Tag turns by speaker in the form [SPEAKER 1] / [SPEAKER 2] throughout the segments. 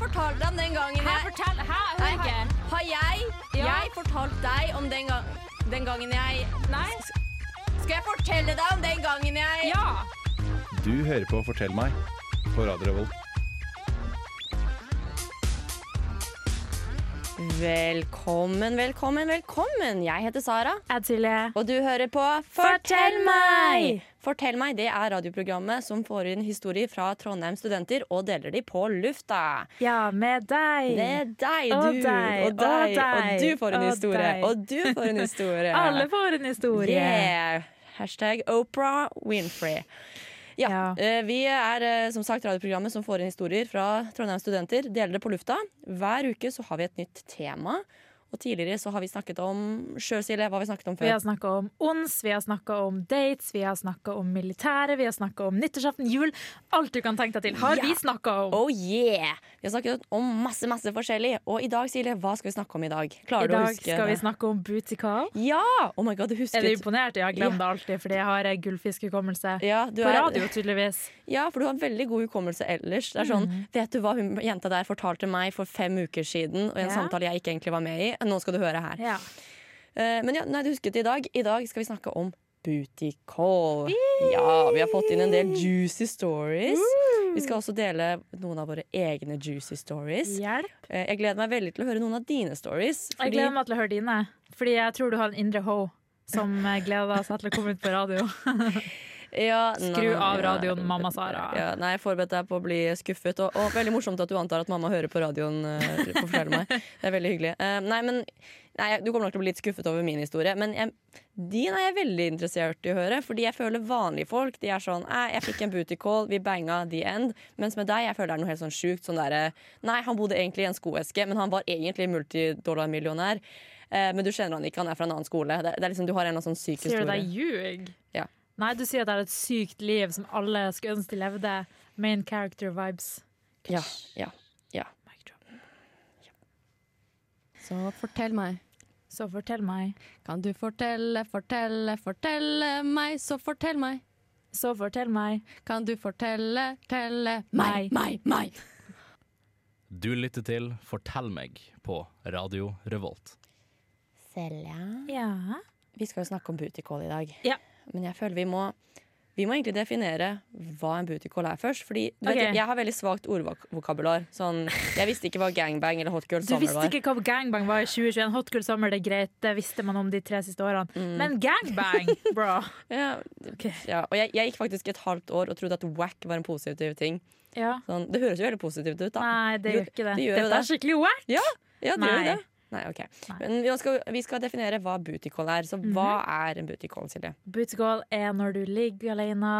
[SPEAKER 1] fortalt deg om den gangen
[SPEAKER 2] Hæ,
[SPEAKER 1] jeg
[SPEAKER 2] fortell! Hæ,
[SPEAKER 1] Nei,
[SPEAKER 2] hører ikke.
[SPEAKER 1] har, har jeg,
[SPEAKER 2] Ja.
[SPEAKER 1] jeg fortalt deg om den, gang, den gangen jeg
[SPEAKER 2] Nei?
[SPEAKER 1] Skal jeg fortelle deg om den gangen jeg
[SPEAKER 2] Ja!
[SPEAKER 3] Du hører på Fortell meg på Radio Revolt.
[SPEAKER 1] Velkommen, velkommen, velkommen. Jeg heter Sara,
[SPEAKER 4] Jeg Silje.
[SPEAKER 1] og du hører på
[SPEAKER 4] Fortell meg!
[SPEAKER 1] Fortell meg, Det er radioprogrammet som får inn historier fra Trondheim studenter og deler de på lufta.
[SPEAKER 4] Ja, med deg.
[SPEAKER 1] Det er deg,
[SPEAKER 4] Og
[SPEAKER 1] du.
[SPEAKER 4] deg,
[SPEAKER 1] og deg.
[SPEAKER 4] og deg,
[SPEAKER 1] du får en
[SPEAKER 4] og
[SPEAKER 1] historie.
[SPEAKER 4] deg.
[SPEAKER 1] Og du får en historie.
[SPEAKER 4] Alle får en historie.
[SPEAKER 1] Yeah. Hashtag Oprah Winfrey. Ja,
[SPEAKER 4] Ja.
[SPEAKER 1] eh, Vi er eh, som sagt radioprogrammet som får inn historier fra Trondheim studenter. Deler det på lufta. Hver uke så har vi et nytt tema. Og tidligere så har vi snakket om sjøl, Silje. Hva har vi snakket om
[SPEAKER 4] Vi
[SPEAKER 1] før?
[SPEAKER 4] har snakka om ons, vi har snakka om dates, vi har snakka om militæret, vi har snakka om nyttårsaften, jul. Alt du kan tenke deg til, har
[SPEAKER 1] Ja.
[SPEAKER 4] vi snakka om.
[SPEAKER 1] Oh yeah! Vi har snakket om masse masse forskjellig. Og i dag, Silje, hva skal vi snakke om i dag?
[SPEAKER 4] I
[SPEAKER 1] Klarer du å
[SPEAKER 4] dag
[SPEAKER 1] huske
[SPEAKER 4] skal vi
[SPEAKER 1] det?
[SPEAKER 4] snakke om bootycall.
[SPEAKER 1] Ja! Oh my god, du
[SPEAKER 4] Er du
[SPEAKER 1] husket
[SPEAKER 4] imponert? Ja, glem det alltid, fordi jeg har eh, gullfiskhukommelse.
[SPEAKER 1] ja, du
[SPEAKER 4] På
[SPEAKER 1] er-
[SPEAKER 4] radio, tydeligvis.
[SPEAKER 1] Ja, for du har en veldig god hukommelse ellers. Det er sånn,
[SPEAKER 4] Mm.
[SPEAKER 1] Vet du hva hun jenta der fortalte meg for fem uker siden? Og en
[SPEAKER 4] Ja.
[SPEAKER 1] samtale jeg ikke egentlig var med i. Nå skal du høre her.
[SPEAKER 4] Ja.
[SPEAKER 1] Eh, men ja, nei, du husket det i dag. I dag skal vi snakke om booty call. Ja, vi har fått inn en del juicy stories. Vi skal også dele noen av våre egne juicy stories.
[SPEAKER 4] Hjelp.
[SPEAKER 1] Eh, jeg gleder meg veldig til å høre noen av dine stories.
[SPEAKER 4] Jeg gleder meg til å høre dine, fordi jeg tror du har en indre ho som eh, gleder seg til å komme ut på radio.
[SPEAKER 1] Ja,
[SPEAKER 4] Skru
[SPEAKER 1] nei,
[SPEAKER 4] av
[SPEAKER 1] ja.
[SPEAKER 4] radioen, mamma Sara.
[SPEAKER 1] Ja, nei, forbered deg på å bli skuffet. Og, og veldig morsomt at du antar at mamma hører på radioen. eh, på Fortell meg. Det er veldig hyggelig. Eh, nei, men nei, Du kommer nok til å bli litt skuffet over min historie, men jeg, din er jeg veldig interessert i å høre. Fordi jeg føler vanlige folk de er sånn «Æ, 'Jeg fikk en booty call, vi banga the end'. Mens med deg jeg føler det er noe helt sånn sjukt. Sånn derre Nei, han bodde egentlig i en skoeske, men han var egentlig multidollarmillionær. Eh, men du kjenner han ikke, han er fra en annen skole. Det, det er liksom, du har en eller annen sånn syk
[SPEAKER 4] Sier du
[SPEAKER 1] historie.
[SPEAKER 4] deg ljug?
[SPEAKER 1] Ja.
[SPEAKER 4] Nei, du sier at det er et sykt liv som alle skulle ønske de levde. Main character vibes.
[SPEAKER 1] Ja, ja, ja.
[SPEAKER 4] Mic drop.
[SPEAKER 5] Så fortell meg.
[SPEAKER 4] Så fortell meg.
[SPEAKER 5] Kan du fortelle, fortelle, fortelle meg, så fortell meg.
[SPEAKER 4] Så fortell meg.
[SPEAKER 5] Kan du fortelle, telle meg, meg, meg.
[SPEAKER 6] Du lytter til Fortell meg på Radio Revolt.
[SPEAKER 1] Selja.
[SPEAKER 4] Ja.
[SPEAKER 1] Vi skal jo snakke om booty call i dag.
[SPEAKER 4] Ja.
[SPEAKER 1] Men jeg føler vi må, vi må egentlig definere hva en booty call er først. Fordi du vet,
[SPEAKER 4] Ok.
[SPEAKER 1] jeg, jeg har veldig svakt ordvokabular. Sånn, jeg visste ikke hva gangbang eller hot girl
[SPEAKER 4] Du
[SPEAKER 1] summer
[SPEAKER 4] visste
[SPEAKER 1] var.
[SPEAKER 4] ikke hva gangbang var i 2021. Hot girl summer, det er greit, det visste man om de tre siste årene.
[SPEAKER 1] Mm.
[SPEAKER 4] Men gangbang, bro!
[SPEAKER 1] Ja,
[SPEAKER 4] Ok.
[SPEAKER 1] ja. Og jeg, jeg gikk faktisk et halvt år og trodde at whack var en positiv ting.
[SPEAKER 4] Ja.
[SPEAKER 1] Sånn, det høres jo veldig positivt ut, da.
[SPEAKER 4] Nei, det
[SPEAKER 1] Jo,
[SPEAKER 4] gjør ikke det.
[SPEAKER 1] det gjør jo
[SPEAKER 4] Dette
[SPEAKER 1] det.
[SPEAKER 4] er skikkelig wack!
[SPEAKER 1] Ja, ja det gjør jo
[SPEAKER 4] Nei.
[SPEAKER 1] det. Nei, ok.
[SPEAKER 4] Nei. Mhm.
[SPEAKER 1] Men vi skal, vi skal definere hva booty call er. Så hva er en booty call, Silje?
[SPEAKER 4] Booty call er når du ligger alene,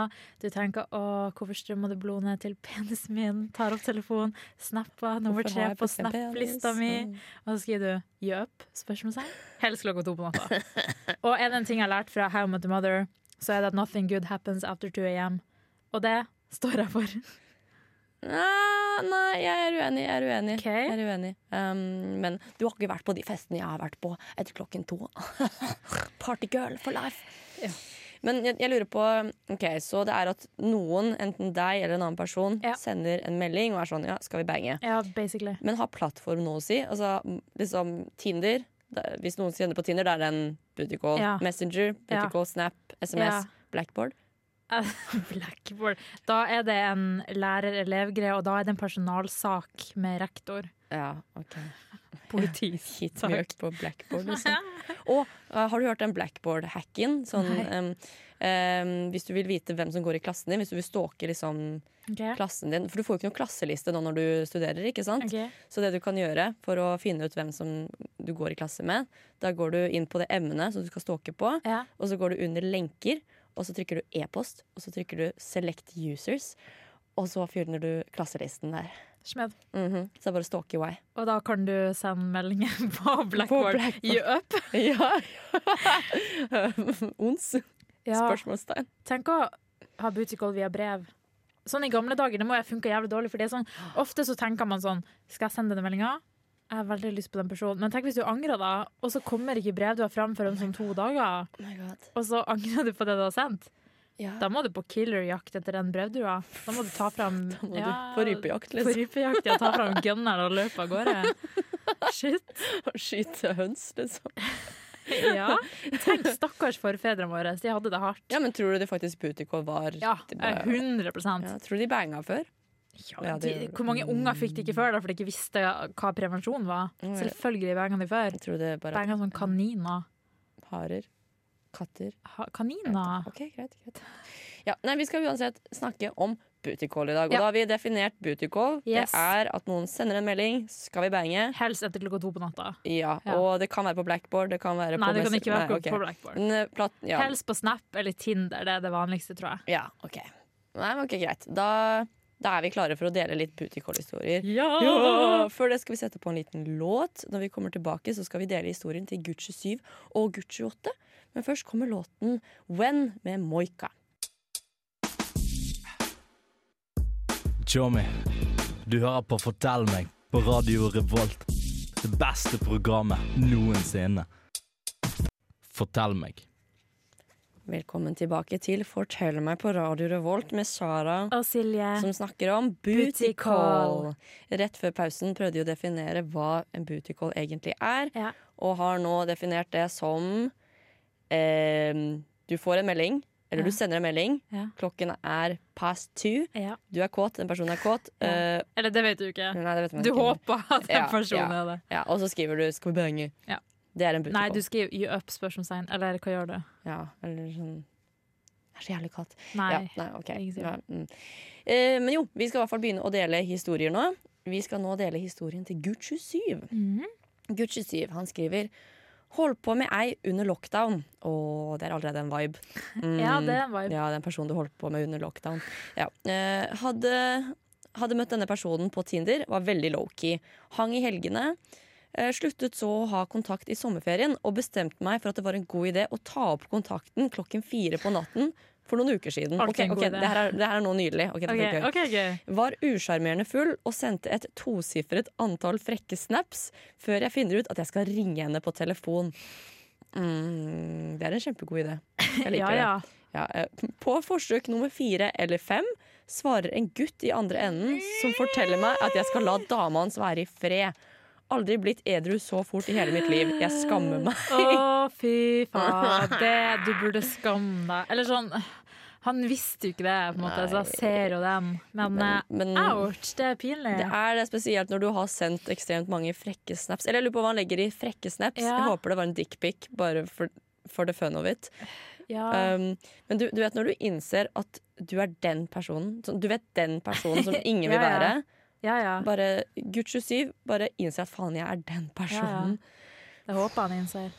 [SPEAKER 4] du tenker 'Å, hvorfor strømmer det blod ned til penisen min?' Tar opp telefonen, snapper nummer
[SPEAKER 1] Hvorfor har
[SPEAKER 4] tre
[SPEAKER 1] jeg
[SPEAKER 4] på
[SPEAKER 1] plutselig en
[SPEAKER 4] snap-lista mi.
[SPEAKER 1] penis?
[SPEAKER 4] Og så skriver du 'jøp'? spørsmålstegn. Helst klokka to på natta. Og er det en ting jeg har lært fra How I Met Your Mother, så er det at 'nothing good happens after 2 am'. Og det står jeg for.
[SPEAKER 1] Nei, Ah, nei, jeg er uenig. Jeg er uenig.
[SPEAKER 4] Ok.
[SPEAKER 1] Jeg er uenig. Um, men du har ikke vært på de festene jeg har vært på etter klokken to. Partygirl for life. Men jeg, jeg lurer på Ok, Så det er at noen, enten deg eller en annen person,
[SPEAKER 4] Ja.
[SPEAKER 1] sender en melding og er sånn Ja, skal vi bange?
[SPEAKER 4] Ja, basically.
[SPEAKER 1] Men har plattform noe å si? Altså m- liksom Tinder. Det- Hvis noen kjenner på Tinder, da er det en booty call.
[SPEAKER 4] Ja.
[SPEAKER 1] Messenger, booty
[SPEAKER 4] Ja.
[SPEAKER 1] call, Snap, SMS,
[SPEAKER 4] Ja.
[SPEAKER 1] Blackboard.
[SPEAKER 4] Blackboard. Da er det en lærer-elev-greie, og da er det en personalsak med rektor.
[SPEAKER 1] Ja, ok
[SPEAKER 4] Politi.
[SPEAKER 1] Hit
[SPEAKER 4] Takk.
[SPEAKER 1] me up på blackboard, liksom. Og eh, har du hørt den blackboard-hacken? Sånn, em, em, hvis du vil vite hvem som går i klassen din, hvis du vil stalke liksom,
[SPEAKER 4] Ok.
[SPEAKER 1] klassen din For du får jo ikke noen klasseliste nå når du studerer, ikke sant?
[SPEAKER 4] Ok.
[SPEAKER 1] Så det du kan gjøre for å finne ut hvem som du går i klasse med, da går du inn på det emnet som du skal stalke på,
[SPEAKER 4] Ja.
[SPEAKER 1] og så går du under lenker, og så trykker du e-post, og så trykker du select users, og så finner du klasselisten der.
[SPEAKER 4] Smed.
[SPEAKER 1] Mhm. Så det er bare å stalke i vei.
[SPEAKER 4] Og da kan du sende meldinger på Blackboard.
[SPEAKER 1] Blackboard.
[SPEAKER 4] Jøp.
[SPEAKER 1] Ja. Ons?
[SPEAKER 4] Ja.
[SPEAKER 1] Spørsmålstegn.
[SPEAKER 4] Tenk å ha booty call via brev. Sånn I gamle dager det må jeg funke jævlig dårlig. For det er sånn, ofte så tenker man sånn Skal jeg sende denne meldinga? Jeg har veldig lyst på den personen. Men tenk hvis du angrer, da, og så kommer ikke brev du har fram for om sånn to dager.
[SPEAKER 1] Oh my God.
[SPEAKER 4] Og så angrer du på det du har sendt.
[SPEAKER 1] Ja.
[SPEAKER 4] Da må du på killerjakt etter den brevdua. Da må du ta fram
[SPEAKER 1] Da må du
[SPEAKER 4] Ja,
[SPEAKER 1] på rypejakt,
[SPEAKER 4] På
[SPEAKER 1] liksom.
[SPEAKER 4] rypejakt, ja. Ta fram gunneren og løpe av gårde. Shit.
[SPEAKER 1] Og skyte høns, liksom.
[SPEAKER 4] Ja. Tenk stakkars forfedrene våre. De hadde det hardt.
[SPEAKER 1] Ja, men tror du det faktisk Putikov var
[SPEAKER 4] Ja, eh,
[SPEAKER 1] de bare-
[SPEAKER 4] 100
[SPEAKER 1] ja, Tror du de banga før?
[SPEAKER 4] ja,
[SPEAKER 1] Ja, det
[SPEAKER 4] de,
[SPEAKER 1] gjør det.
[SPEAKER 4] Hvor mange unger fikk de ikke før, da, for de ikke visste hva prevensjon var?
[SPEAKER 1] Ja, ja.
[SPEAKER 4] Selvfølgelig banga de før.
[SPEAKER 1] Jeg tror det bare
[SPEAKER 4] Banga som kaniner.
[SPEAKER 1] at harer, katter
[SPEAKER 4] Ha, kaniner?
[SPEAKER 1] Ok, greit, greit. Ja, nei, vi skal uansett snakke om bootycall i dag. Og
[SPEAKER 4] Ja.
[SPEAKER 1] da har vi definert bootycall.
[SPEAKER 4] Yes.
[SPEAKER 1] Det er at noen sender en melding, skal vi bange?
[SPEAKER 4] Helst etter klokka to på natta.
[SPEAKER 1] Ja,
[SPEAKER 4] Ja.
[SPEAKER 1] og det kan være på blackboard. Det kan være
[SPEAKER 4] Nei,
[SPEAKER 1] på
[SPEAKER 4] det kan
[SPEAKER 1] Messenger-
[SPEAKER 4] ikke være på,
[SPEAKER 1] Nei, ok.
[SPEAKER 4] på Blackboard.
[SPEAKER 1] Men, eh, plat, ja.
[SPEAKER 4] Helst på Snap eller Tinder, det er det vanligste, tror jeg.
[SPEAKER 1] ja, ok. Nei, men ok, greit. Da, da er vi klare for å dele litt bootycall-historier.
[SPEAKER 4] Ja!
[SPEAKER 1] Ja! Før det skal vi sette på en liten låt. Når vi kommer tilbake, så skal vi dele historien til Gucci 7 og Gucci 8. Men først kommer låten When med Moika.
[SPEAKER 6] Tjommi, du hører på Fortell meg på Radio Revolt. Det beste programmet noensinne. Fortell meg.
[SPEAKER 1] Velkommen tilbake til Fortell meg på Radio Revolt med Sara.
[SPEAKER 4] Og Silje.
[SPEAKER 1] Som snakker om booty
[SPEAKER 4] Booty
[SPEAKER 1] call.
[SPEAKER 4] call.
[SPEAKER 1] Rett før pausen prøvde de å definere hva en booty call egentlig er,
[SPEAKER 4] Ja.
[SPEAKER 1] og har nå definert det som eh, Du får en melding, eller du sender en melding.
[SPEAKER 4] Ja.
[SPEAKER 1] Klokken er past two.
[SPEAKER 4] Ja.
[SPEAKER 1] Du er kåt, den personen er kåt.
[SPEAKER 4] Ja.
[SPEAKER 1] eh,
[SPEAKER 4] Eller det vet du ikke.
[SPEAKER 1] nei, det vet man
[SPEAKER 4] Du
[SPEAKER 1] ikke.
[SPEAKER 4] håper at den
[SPEAKER 1] Ja,
[SPEAKER 4] personen
[SPEAKER 1] ja.
[SPEAKER 4] er det.
[SPEAKER 1] Ja, og så skriver du 'skal vi bange'.
[SPEAKER 4] Ja.
[SPEAKER 1] Det er en booty
[SPEAKER 4] Nei,
[SPEAKER 1] call.
[SPEAKER 4] du skriver 'you up?' spørsmålstegn. Eller hva gjør du?
[SPEAKER 1] Ja, eller sånn Det er så jævlig kaldt.
[SPEAKER 4] Nei.
[SPEAKER 1] Ja, nei, ok.
[SPEAKER 4] ingen sier
[SPEAKER 1] Ja, mm. eh, men jo, vi skal i hvert fall begynne å dele historier nå. Vi skal nå dele historien til Gutt 27.
[SPEAKER 4] Mhm.
[SPEAKER 1] Gutt 27, han skriver Hold på med ei under lockdown. Å, det er allerede en vibe. Mm.
[SPEAKER 4] Ja, det er en vibe.
[SPEAKER 1] Ja, det er en person du holdt på med under lockdown. Ja. Eh, hadde, hadde møtt denne personen på Tinder, var veldig low-key. Hang i helgene. Eh, sluttet så å ha kontakt i sommerferien og bestemte meg for at det var en god idé å ta opp kontakten klokken fire på natten for noen uker siden.
[SPEAKER 4] Alltid
[SPEAKER 1] Ok,
[SPEAKER 4] en god
[SPEAKER 1] ok,
[SPEAKER 4] idé.
[SPEAKER 1] det, her er, det her er nå nydelig. Ok, dette
[SPEAKER 4] Ok,
[SPEAKER 1] er gøy.
[SPEAKER 4] ok, gøy.
[SPEAKER 1] Var usjarmerende full og sendte et tosifret antall frekke snaps før jeg finner ut at jeg skal ringe henne på telefon. Mm, det er en kjempegod idé. Jeg liker
[SPEAKER 4] Ja, ja.
[SPEAKER 1] det. Ja, eh, på forsøk nummer fire eller fem svarer en gutt i andre enden som forteller meg at jeg skal la dama hans være i fred. Aldri blitt edru så fort i hele mitt liv. Jeg skammer meg.
[SPEAKER 4] Å, fy faen. Det du burde skamme deg. Eller sånn Han visste jo ikke det, på en måte, så jeg ser jo den. Men,
[SPEAKER 1] Men- men-
[SPEAKER 4] eh, ouch, det er pinlig.
[SPEAKER 1] Det er det spesielt når du har sendt ekstremt mange frekke snaps. Eller jeg lurer på hva han legger i frekke snaps.
[SPEAKER 4] Ja.
[SPEAKER 1] Jeg håper det var en dickpic, bare for, for the fun of it.
[SPEAKER 4] ja.
[SPEAKER 1] Um, men du, du vet når du innser at du er den personen sånn, Du vet den personen som ingen vil
[SPEAKER 4] Ja, ja.
[SPEAKER 1] være.
[SPEAKER 4] ja, ja.
[SPEAKER 1] Bare Gutt 27 bare innser at faen, jeg er den personen.
[SPEAKER 4] Det håper han innser.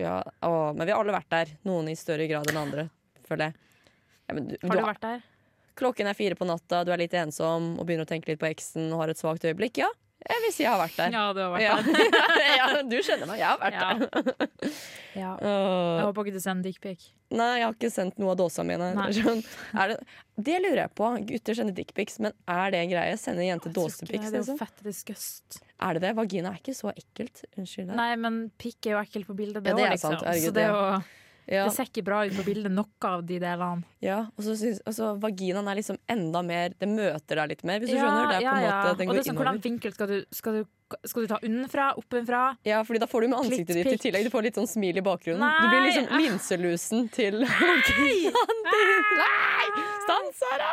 [SPEAKER 1] Ja, å, men vi har alle vært der. Noen i større grad enn andre, føler jeg. Ja, men du,
[SPEAKER 4] Har
[SPEAKER 1] du
[SPEAKER 4] du
[SPEAKER 1] har-
[SPEAKER 4] vært der?
[SPEAKER 1] klokken er fire på natta, du er litt ensom og begynner å tenke litt på eksen og har et svakt øyeblikk. Ja, jeg vil si jeg har vært der.
[SPEAKER 4] Ja, du har vært
[SPEAKER 1] Ja.
[SPEAKER 4] der.
[SPEAKER 1] ja, du kjenner meg. Jeg har vært der.
[SPEAKER 4] Ja. ja.
[SPEAKER 1] Åh.
[SPEAKER 4] Jeg håper ikke du sender dickpic.
[SPEAKER 1] Nei, jeg har ikke sendt noe av dåsa mine.
[SPEAKER 4] Nei.
[SPEAKER 1] Sånn, Er det, det lurer jeg på. Gutter sender dickpics, men er det en greie? Sender jenter dåsepics?
[SPEAKER 4] Det er jo
[SPEAKER 1] Liksom?
[SPEAKER 4] fett disgust.
[SPEAKER 1] Er det det? Vagina er ikke så ekkelt. Unnskyld. deg.
[SPEAKER 4] Nei, men pikk er jo ekkelt på bildet, det
[SPEAKER 1] Ja,
[SPEAKER 4] òg,
[SPEAKER 1] det er
[SPEAKER 4] liksom.
[SPEAKER 1] sant. Herregud,
[SPEAKER 4] så det, er jo,
[SPEAKER 1] Ja,
[SPEAKER 4] det ser ikke bra ut på bildet, noe av de delene.
[SPEAKER 1] ja. Og så syns og så vaginaen er liksom enda mer Det møter deg litt mer, hvis du skjønner. Det er på en måte, den går
[SPEAKER 4] Og det er sånn,
[SPEAKER 1] innover.
[SPEAKER 4] hvordan vinkel skal du, skal du, skal du ta unnenfra? Oppenfra?
[SPEAKER 1] Ja, fordi da får du med ansiktet ditt i
[SPEAKER 4] Klittpikk.
[SPEAKER 1] tillegg. Du får litt sånn smil i bakgrunnen. Du blir
[SPEAKER 4] Nei,
[SPEAKER 1] liksom
[SPEAKER 4] ah.
[SPEAKER 1] linselusen til vaginaen din. Nei! Stans, Sara!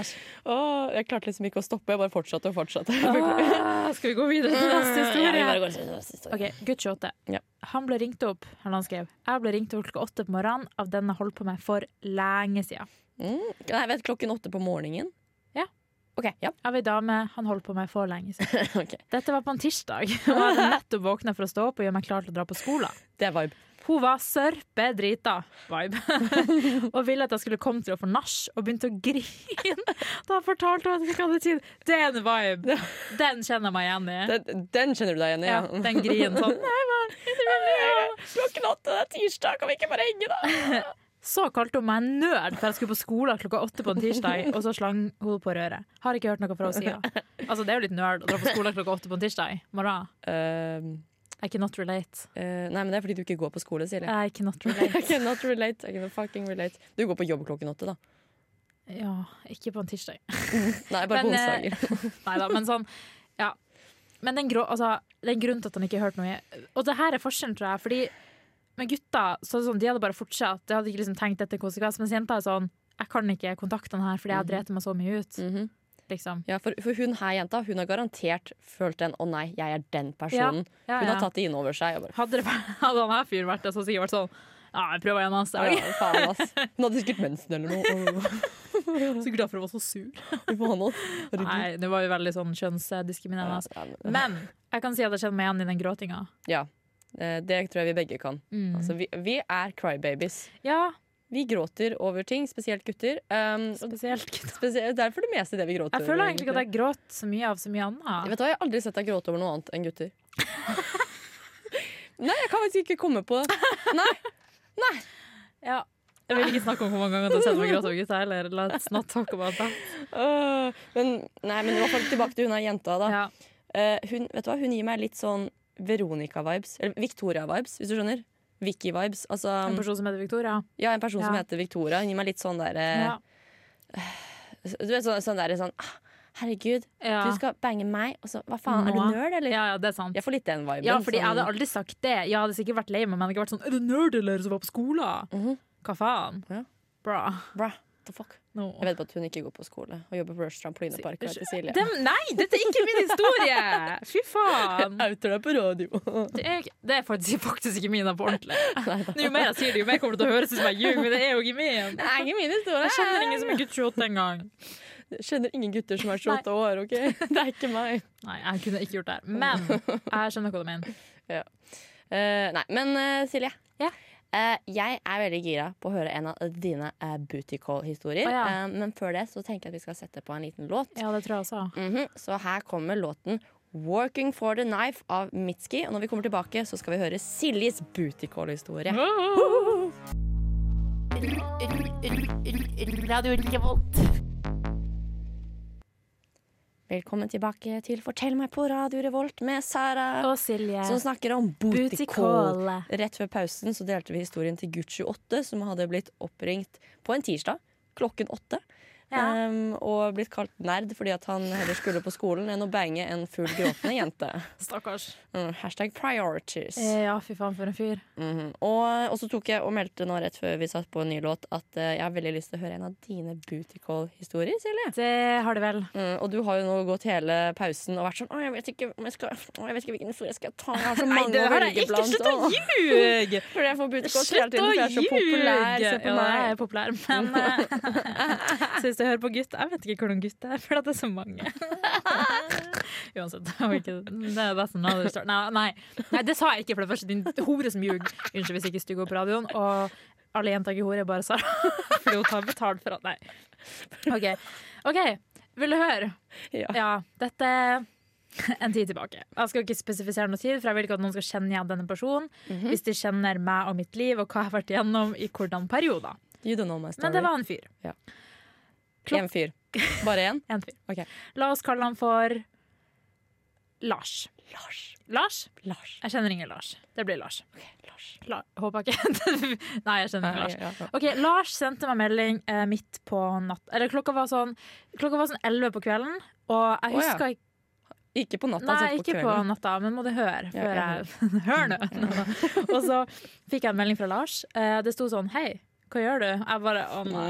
[SPEAKER 4] Æsj.
[SPEAKER 1] Åh, Jeg klarte liksom ikke å stoppe. Jeg bare fortsatte og fortsatte.
[SPEAKER 4] Ah, skal vi gå videre til neste
[SPEAKER 1] Mm. Ja, vi
[SPEAKER 4] historie?
[SPEAKER 1] bare går til neste historie.
[SPEAKER 4] Ok, Gutt 28.
[SPEAKER 1] Ja.
[SPEAKER 4] Han ble ringt opp eller han skrev Jeg ble ringt opp klokka åtte på morgenen av den jeg holdt på med for lenge siden.
[SPEAKER 1] Mm. Nei, jeg vet klokken åtte på morgenen.
[SPEAKER 4] Ja.
[SPEAKER 1] Ok, ja.
[SPEAKER 4] Av ei dame han holdt på med for lenge siden.
[SPEAKER 1] Ok.
[SPEAKER 4] Dette var på en tirsdag, og jeg hadde nettopp våkna for å stå opp og gjøre meg klar til å dra på skolen.
[SPEAKER 1] Det er vibe.
[SPEAKER 4] Hun var sørpe drita vibe, og ville at jeg skulle komme til henne for nach, og begynte å grine. Da fortalte hun at jeg ikke hadde tid. Det er en vibe! Den kjenner jeg meg igjen i.
[SPEAKER 1] Den, den kjenner du deg igjen i?
[SPEAKER 4] Ja,
[SPEAKER 1] Ja.
[SPEAKER 4] den grinen sånn. Nei, men, jeg vil jo.
[SPEAKER 1] Klokken åtte, det er tirsdag, kan vi ikke bare henge, da?
[SPEAKER 4] Så kalte hun meg nerd for jeg skulle på skolen klokka åtte på en tirsdag, og så slang hun på røret. Har ikke hørt noe fra henne siden. Altså, det er jo litt nerd å dra på skolen klokka åtte på en tirsdag. Må da.
[SPEAKER 1] Ehm,
[SPEAKER 4] I cannot relate.
[SPEAKER 1] Eh, nei, men det er fordi du ikke går på skole, Silje.
[SPEAKER 4] I cannot
[SPEAKER 1] I
[SPEAKER 4] relate.
[SPEAKER 1] cannot relate. I cannot fucking relate. Du går på jobb klokken åtte, da.
[SPEAKER 4] Ja, ikke på en tirsdag.
[SPEAKER 1] Nei, bare på
[SPEAKER 4] Men, eh,
[SPEAKER 1] onsdager.
[SPEAKER 4] Nei da, men sånn Ja. Men den grå, altså, det er en grunn til at han ikke har hørt noe. Og det her er forskjellen, tror jeg. Fordi med gutta så er det sånn, de hadde bare fortsatt. De hadde ikke liksom tenkt etter konsekvens. Mens jenta er sånn Jeg kan ikke kontakte han her fordi jeg har drept meg så mye ut.
[SPEAKER 1] Mhm.
[SPEAKER 4] Liksom.
[SPEAKER 1] Ja, for, for hun her jenta Hun har garantert følt en 'å nei, jeg er den personen'.
[SPEAKER 4] Ja,
[SPEAKER 1] Hun har
[SPEAKER 4] ja.
[SPEAKER 1] tatt det inn over seg. Og bare,
[SPEAKER 4] Hadde, det, vært- hadde han her fyren vært det, så hadde det sikkert vært sånn Ja, jeg prøver igjen neste dag.
[SPEAKER 1] ja, faen, ass. Hun hadde sikkert mensen eller noe.
[SPEAKER 4] Så glad for å være så sur.
[SPEAKER 1] Å, faen, ass. Herregud.
[SPEAKER 4] Nei, det var jo veldig sånn kjønnsdiskriminerende. altså.
[SPEAKER 1] Ja, men- eh,
[SPEAKER 4] Men jeg kan si at jeg kjenner meg igjen i den gråtinga.
[SPEAKER 1] Ja. Eh, Det tror jeg vi begge kan.
[SPEAKER 4] Mm.
[SPEAKER 1] Altså, vi, vi er crybabies.
[SPEAKER 4] Ja,
[SPEAKER 1] Vi gråter over ting, spesielt gutter. Um, og
[SPEAKER 4] spesielt gutta.
[SPEAKER 1] spesielt, det er for det meste det vi gråter
[SPEAKER 4] Jeg føler
[SPEAKER 1] over,
[SPEAKER 4] egentlig ikke at jeg gråt så mye av så mye annet.
[SPEAKER 1] Vet du hva, Jeg har aldri sett deg gråte over noe annet enn gutter. Nei, jeg kan faktisk ikke komme på det. Nei,
[SPEAKER 4] Ja. Jeg vil ikke snakke om hvor mange ganger du har sett meg gråte over gutta heller. Let's not talk about that.
[SPEAKER 1] Øh, men, nei, men i hvert fall tilbake til hun her jenta. da
[SPEAKER 4] Ja.
[SPEAKER 1] Eh, hun, vet du hva, hun gir meg litt sånn Veronica-vibes. Eller Victoria-vibes, hvis du skjønner. Vicky-vibes. Altså,
[SPEAKER 4] En person som heter Victoria.
[SPEAKER 1] ja, en person som
[SPEAKER 4] Ja.
[SPEAKER 1] heter Victoria. Hun gir meg litt sånn der, eh,
[SPEAKER 4] Ja.
[SPEAKER 1] Du vet sånn, sånn der sånn ah, Herregud,
[SPEAKER 4] Ja.
[SPEAKER 1] du skal bange meg, og så Hva faen, er
[SPEAKER 4] Nå.
[SPEAKER 1] du nerd, eller?
[SPEAKER 4] ja, ja, det er sant.
[SPEAKER 1] Jeg får litt den viben.
[SPEAKER 4] Ja, fordi jeg
[SPEAKER 1] sånn-
[SPEAKER 4] hadde aldri sagt det. Jeg hadde sikkert vært lei meg, men jeg hadde ikke vært sånn Er du nerd eller som var på skolen?
[SPEAKER 1] Mhm.
[SPEAKER 4] Hva faen?
[SPEAKER 1] Ja.
[SPEAKER 4] Bra.
[SPEAKER 1] Bra, the fuck.
[SPEAKER 4] No.
[SPEAKER 1] Jeg vet bare at hun ikke går på skole og jobber på Rush Trampolinepark. og heter Silje.
[SPEAKER 4] Dem, nei, dette er ikke min historie! Fy faen.
[SPEAKER 1] outer deg på radio.
[SPEAKER 4] Det er, det er faktisk, faktisk ikke min da, på ordentlig. Jo mer jeg sier det, jo mer kommer det til å høres ut som jeg ljuger, men det er jo ikke min.
[SPEAKER 1] Det er ikke min historie.
[SPEAKER 4] Jeg kjenner ingen som er gutt 28 engang.
[SPEAKER 1] Jeg kjenner ingen gutter som er 28 år. ok? Det er ikke meg.
[SPEAKER 4] Nei, jeg kunne ikke gjort det her. Men jeg skjønner hva du mener.
[SPEAKER 1] Eh, nei, men eh, Silje.
[SPEAKER 4] Ja.
[SPEAKER 1] Eh, jeg er veldig gira på å høre en av dine eh, booty call-historier.
[SPEAKER 4] Å, ja.
[SPEAKER 1] Eh, men før det så tenker jeg at vi skal sette på en liten låt.
[SPEAKER 4] Ja, det tror jeg også.
[SPEAKER 1] Mhm, Så her kommer låten 'Working for the Knife' av Mitski. Og når vi kommer tilbake, så skal vi høre Siljes booty call-historie. Velkommen tilbake til Fortell meg på Radio Revolt med Sara,
[SPEAKER 4] Og Silje.
[SPEAKER 1] som snakker om booty
[SPEAKER 4] Sånn Booty
[SPEAKER 1] call.
[SPEAKER 4] call.
[SPEAKER 1] Rett før pausen så delte vi historien til gutt 28, som hadde blitt oppringt på en tirsdag klokken åtte.
[SPEAKER 4] Ja.
[SPEAKER 1] em, og blitt kalt nerd fordi at han heller skulle på skolen enn å bange en full gråtende jente.
[SPEAKER 4] Stakkars.
[SPEAKER 1] Mm, hashtag priorities.
[SPEAKER 4] Eh, Ja, fy faen, for en fyr.
[SPEAKER 1] Mhm. og, og så tok jeg og meldte nå rett før vi satt på en ny låt at eh, jeg har veldig lyst til å høre en av dine booty call-historier, Silje.
[SPEAKER 4] Det har det vel.
[SPEAKER 1] Mm, og du har jo nå gått hele pausen og vært sånn Å, jeg vet ikke, om jeg skal, å, jeg vet ikke hvilken historie jeg skal ta. Jeg har så mange å velge blant. Å,
[SPEAKER 4] ljuge!
[SPEAKER 1] Fordi jeg får booty calls hele
[SPEAKER 4] Slutt å
[SPEAKER 1] tiden, for jeg er så populær.
[SPEAKER 4] ljuge!
[SPEAKER 1] Se på
[SPEAKER 4] Ja, jeg
[SPEAKER 1] meg.
[SPEAKER 4] er populær, men eh, Så hvis du hører på gutt Jeg vet ikke hvordan gutt er, for det er så mange. Uansett. det var ikke- Det er nesten another story. Nei, nei, nei, det sa jeg ikke, for det første. Din hore som ljuger. Unnskyld hvis jeg ikke stugg opp radioen. Og alle jenter ikke hore, bare Sara. Fordi hun tar betalt for at Nei. OK. ok, Vil du høre?
[SPEAKER 1] Ja.
[SPEAKER 4] Ja, dette er en tid tilbake. Jeg skal ikke spesifisere noe tid, for jeg vil ikke at noen skal kjenne igjen denne personen.
[SPEAKER 1] Mhm.
[SPEAKER 4] Hvis de kjenner meg og mitt liv og hva jeg har vært igjennom i hvordan perioder.
[SPEAKER 1] You don't know my story.
[SPEAKER 4] Men det var en fyr. klok-
[SPEAKER 1] En fyr. Bare én?
[SPEAKER 4] En fyr.
[SPEAKER 1] Ok.
[SPEAKER 4] La oss kalle han for Lars.
[SPEAKER 1] Lars.
[SPEAKER 4] Lars?
[SPEAKER 1] Lars.
[SPEAKER 4] Jeg kjenner ingen Lars. Det blir Lars.
[SPEAKER 1] Ok, Lars.
[SPEAKER 4] La håper jeg ikke. Nei, jeg kjenner ikke Lars.
[SPEAKER 1] Ja, ja.
[SPEAKER 4] Ok, Lars sendte meg melding eh, midt på natt... Eller klokka var sånn Klokka var sånn 11 på kvelden, og
[SPEAKER 1] Å,
[SPEAKER 4] jeg
[SPEAKER 1] ja.
[SPEAKER 4] husker ikke
[SPEAKER 1] Ikke på natta,
[SPEAKER 4] Nei,
[SPEAKER 1] altså på
[SPEAKER 4] ikke på
[SPEAKER 1] kvelden.
[SPEAKER 4] natta, men må du høre
[SPEAKER 1] Ja,
[SPEAKER 4] før
[SPEAKER 1] jeg
[SPEAKER 4] jeg Hør nå! Og så fikk jeg en melding fra Lars. Eh, Det sto sånn Hei, hva gjør du? Jeg bare Å nei.